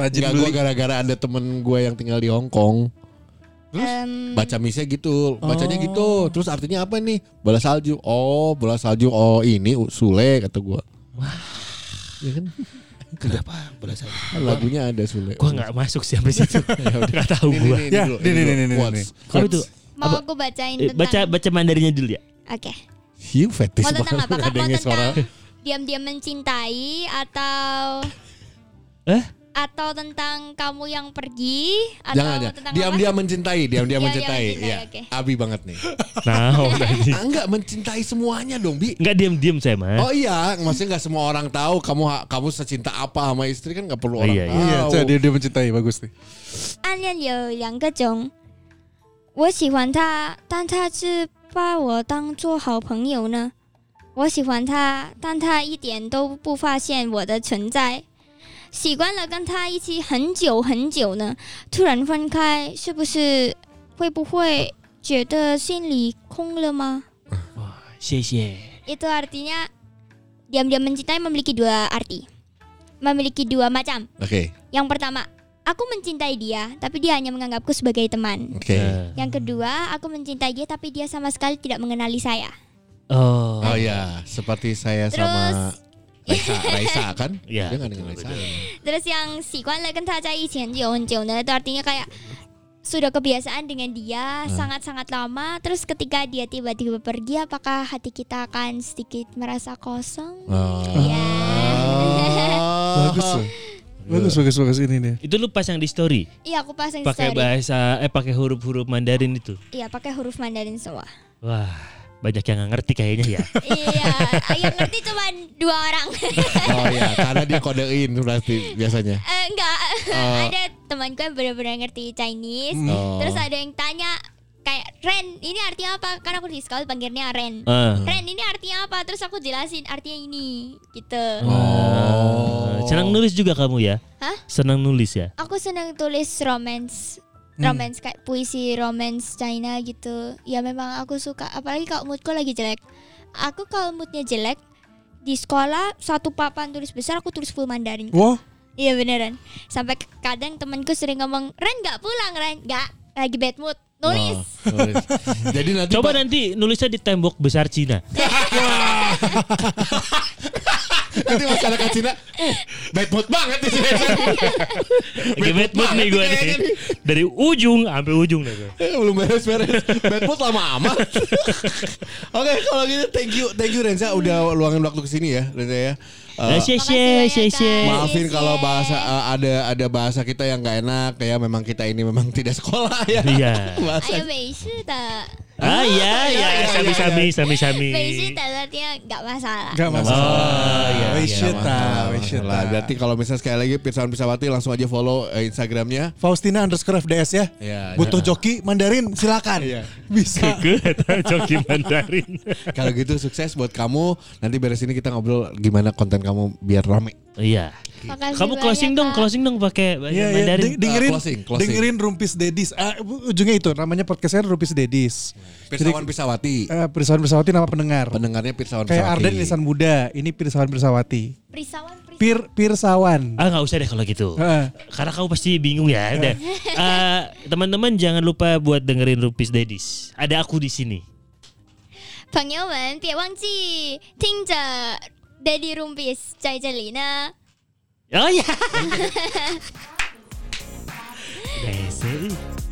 [SPEAKER 1] Rajin
[SPEAKER 4] Enggak
[SPEAKER 1] beli.
[SPEAKER 4] gue gara-gara ada temen gue yang tinggal di Hong Kong
[SPEAKER 2] Em,
[SPEAKER 4] baca misnya gitu bacanya gitu terus artinya apa nih bola salju oh bola salju oh ini u- Sule kata gue ya kan
[SPEAKER 3] Kenapa bola salju?
[SPEAKER 4] lagunya ada Sule
[SPEAKER 2] Hmm.
[SPEAKER 3] Gua nggak masuk sih sampai situ. Nggak tahu
[SPEAKER 4] ini
[SPEAKER 3] gua.
[SPEAKER 4] nih
[SPEAKER 1] Ya,
[SPEAKER 4] dulu,
[SPEAKER 1] ini nih, ini nih,
[SPEAKER 4] dulu.
[SPEAKER 1] ini nih.
[SPEAKER 4] What's-
[SPEAKER 3] Apa itu?
[SPEAKER 2] mau
[SPEAKER 3] Apa?
[SPEAKER 2] aku bacain
[SPEAKER 3] Eh,
[SPEAKER 2] tentang
[SPEAKER 3] Baca baca Mandarinnya dulu ya.
[SPEAKER 2] Oke.
[SPEAKER 4] Hiu fetish
[SPEAKER 2] Mau tentang
[SPEAKER 4] banget
[SPEAKER 2] apa? Kak? Mau
[SPEAKER 4] ngedengerin suara.
[SPEAKER 2] tentang diam-diam mencintai atau
[SPEAKER 3] Eh?
[SPEAKER 2] atau tentang kamu yang pergi atau
[SPEAKER 4] Jangan ya.
[SPEAKER 2] tentang
[SPEAKER 4] Diam-diam mencintai, diam-diam
[SPEAKER 2] Iya,
[SPEAKER 4] mencintai.
[SPEAKER 2] iya,
[SPEAKER 4] Ya,
[SPEAKER 2] mencintai,
[SPEAKER 4] Abi banget nih.
[SPEAKER 3] Nah, oh, tadi.
[SPEAKER 4] Ah, enggak mencintai semuanya dong, Bi.
[SPEAKER 3] Nggak diam-diam saya mah.
[SPEAKER 4] Oh iya, maksudnya nggak semua orang tahu kamu ha- kamu secinta apa sama istri kan nggak
[SPEAKER 3] Oh,
[SPEAKER 4] perlu orang
[SPEAKER 3] iya,
[SPEAKER 4] tahu.
[SPEAKER 1] Iya, Cak, dia dia mencintai bagus nih.
[SPEAKER 2] 暗恋有两个种，我喜欢他，但他是把我当做好朋友呢。我喜欢他，但他一点都不发现我的存在。习惯了跟他一起很久很久呢，突然分开，是不是会不会觉得心里空了吗
[SPEAKER 3] Xie xie.
[SPEAKER 2] ？Itu artinya diam-diam mencintai memiliki dua arti, memiliki dua macam.
[SPEAKER 4] Oke.
[SPEAKER 2] Yang pertama, aku mencintai dia, tapi dia hanya menganggapku sebagai teman.
[SPEAKER 4] Oke.
[SPEAKER 3] Eh.
[SPEAKER 2] Yang kedua, aku mencintai dia tapi dia sama sekali tidak mengenali saya.
[SPEAKER 3] Oh.
[SPEAKER 4] Oh ya, seperti saya sama
[SPEAKER 2] Terus-
[SPEAKER 4] Raisa, Raisa kan?
[SPEAKER 3] Iya,
[SPEAKER 4] Dia nggak
[SPEAKER 3] betul,
[SPEAKER 4] dengan Raisa.
[SPEAKER 3] betul.
[SPEAKER 2] Terus yang si Kwan Lai Kenta Cai Chen Jion Jion itu artinya kayak sudah kebiasaan dengan dia sangat-sangat lama. Terus ketika dia tiba-tiba pergi, apakah hati kita akan sedikit merasa kosong? Ya.
[SPEAKER 1] Bagus tuh. Bagus bagus bagus ini nih.
[SPEAKER 3] Itu lu pas yang di story
[SPEAKER 2] Iya, aku pasang
[SPEAKER 3] pakai
[SPEAKER 2] story.
[SPEAKER 3] bahasa eh pakai huruf-huruf Mandarin itu.
[SPEAKER 2] Iya, pakai huruf Mandarin semua.
[SPEAKER 3] Wah, banyak yang nggak ngerti kayaknya ya.
[SPEAKER 2] iya, yang ngerti cuma dua orang.
[SPEAKER 4] Oh ya, karena dia kodein berarti biasanya.
[SPEAKER 2] Eh, enggak,
[SPEAKER 4] Oh.
[SPEAKER 2] ada temanku yang benar-benar ngerti Chinese.
[SPEAKER 4] Oh.
[SPEAKER 2] Terus ada yang tanya kayak Ren, ini artinya apa? Karena aku di sekolah panggilnya Ren.
[SPEAKER 4] Oh.
[SPEAKER 3] Ah.
[SPEAKER 2] Ren ini artinya apa? Terus aku jelasin artinya ini gitu.
[SPEAKER 4] Oh.
[SPEAKER 3] Ah, Senang nulis juga kamu ya?
[SPEAKER 2] Oh. Hah?
[SPEAKER 3] Senang nulis ya?
[SPEAKER 2] Aku senang tulis romance
[SPEAKER 4] Hmm.
[SPEAKER 2] romance kayak puisi romance China gitu. Ya memang aku suka apalagi kalau moodku lagi jelek. Aku kalau moodnya jelek di sekolah satu papan tulis besar aku tulis full Mandarin.
[SPEAKER 1] Wah,
[SPEAKER 2] Iya beneran. Sampai ke- kadang temanku sering ngomong, "Ren nggak pulang, Ren. nggak lagi bad mood." Nulis.
[SPEAKER 4] Oh, nulis. Jadi nanti
[SPEAKER 3] Coba
[SPEAKER 4] Pak-
[SPEAKER 3] nanti nulisnya di tembok besar Cina.
[SPEAKER 4] nanti masyarakat Cina, uh, bad mood banget di sini.
[SPEAKER 3] Lagi bad mood nih gue nih.
[SPEAKER 4] kayaknya
[SPEAKER 3] Dari ujung sampai ujung deh gue.
[SPEAKER 4] Eh, Belum beres-beres. Bad mood lama amat. Oke, kalau gitu thank you thank you Renza udah luangin waktu ke sini ya, Renza ya. Eh,
[SPEAKER 3] Eh, Xie-xie,
[SPEAKER 2] Oh. Makasih Iya, banyak,
[SPEAKER 3] xie-xie.
[SPEAKER 2] guys.
[SPEAKER 4] Maafin
[SPEAKER 2] Yes,
[SPEAKER 4] kalau
[SPEAKER 2] yes.
[SPEAKER 4] bahasa eh, ada ada bahasa kita yang nggak enak ya memang kita ini memang tidak sekolah ya.
[SPEAKER 3] Iya.
[SPEAKER 4] bahasa.
[SPEAKER 2] Ayo beisi tak.
[SPEAKER 3] Ah iya iya
[SPEAKER 4] iya,
[SPEAKER 3] sami-sami sami-sami.
[SPEAKER 2] Beisi tak artinya nggak masalah.
[SPEAKER 1] enggak masalah.
[SPEAKER 3] Oh, iya,
[SPEAKER 1] We
[SPEAKER 3] iya,
[SPEAKER 1] should, ah,
[SPEAKER 4] Nah,
[SPEAKER 1] we should,
[SPEAKER 4] masalah.
[SPEAKER 1] ah.
[SPEAKER 4] Berarti kalau misalnya sekali lagi Pirsawan Pisawati langsung aja follow eh, Instagramnya.
[SPEAKER 1] Faustina underscore FDS ya.
[SPEAKER 4] Iya,
[SPEAKER 1] Butuh
[SPEAKER 4] iya.
[SPEAKER 1] joki Mandarin silakan.
[SPEAKER 4] Iya.
[SPEAKER 1] Bisa.
[SPEAKER 3] Gue joki Mandarin.
[SPEAKER 4] Kalau gitu sukses buat kamu. Nanti beres ini kita ngobrol gimana konten kamu biar rame.
[SPEAKER 3] Iya.
[SPEAKER 2] Makasih
[SPEAKER 3] Kamu closing
[SPEAKER 2] banyak,
[SPEAKER 3] dong,
[SPEAKER 2] Kak.
[SPEAKER 3] closing dong pakai bahasa
[SPEAKER 1] Iya, iya.
[SPEAKER 3] Mandarin.
[SPEAKER 1] De- dengerin,
[SPEAKER 4] Ah, closing, closing.
[SPEAKER 1] dengerin Rumpis Dedis. Ah, ujungnya itu namanya podcastnya Rumpis Dedis.
[SPEAKER 4] Pirsawan Pisawati.
[SPEAKER 1] Eh, Pirsawan Pirsawati nama pendengar.
[SPEAKER 4] Pendengarnya Pirsawan
[SPEAKER 1] Kayak
[SPEAKER 4] Pisawati.
[SPEAKER 1] Arden Lisan Muda, ini Pirsawan Pirsawati.
[SPEAKER 2] Perisawan, perisawan.
[SPEAKER 1] Pir Pirsawan.
[SPEAKER 3] Ah nggak usah deh kalau gitu.
[SPEAKER 1] Heeh.
[SPEAKER 3] Karena kamu pasti bingung ya. Udah. Eh, teman-teman jangan lupa buat dengerin Rupis Dedis. Ada aku di sini.
[SPEAKER 2] 朋友们，别忘记听着 Daddy Rumpis 在这里呢。
[SPEAKER 3] iya. Oh ya. Udah, ya, sih.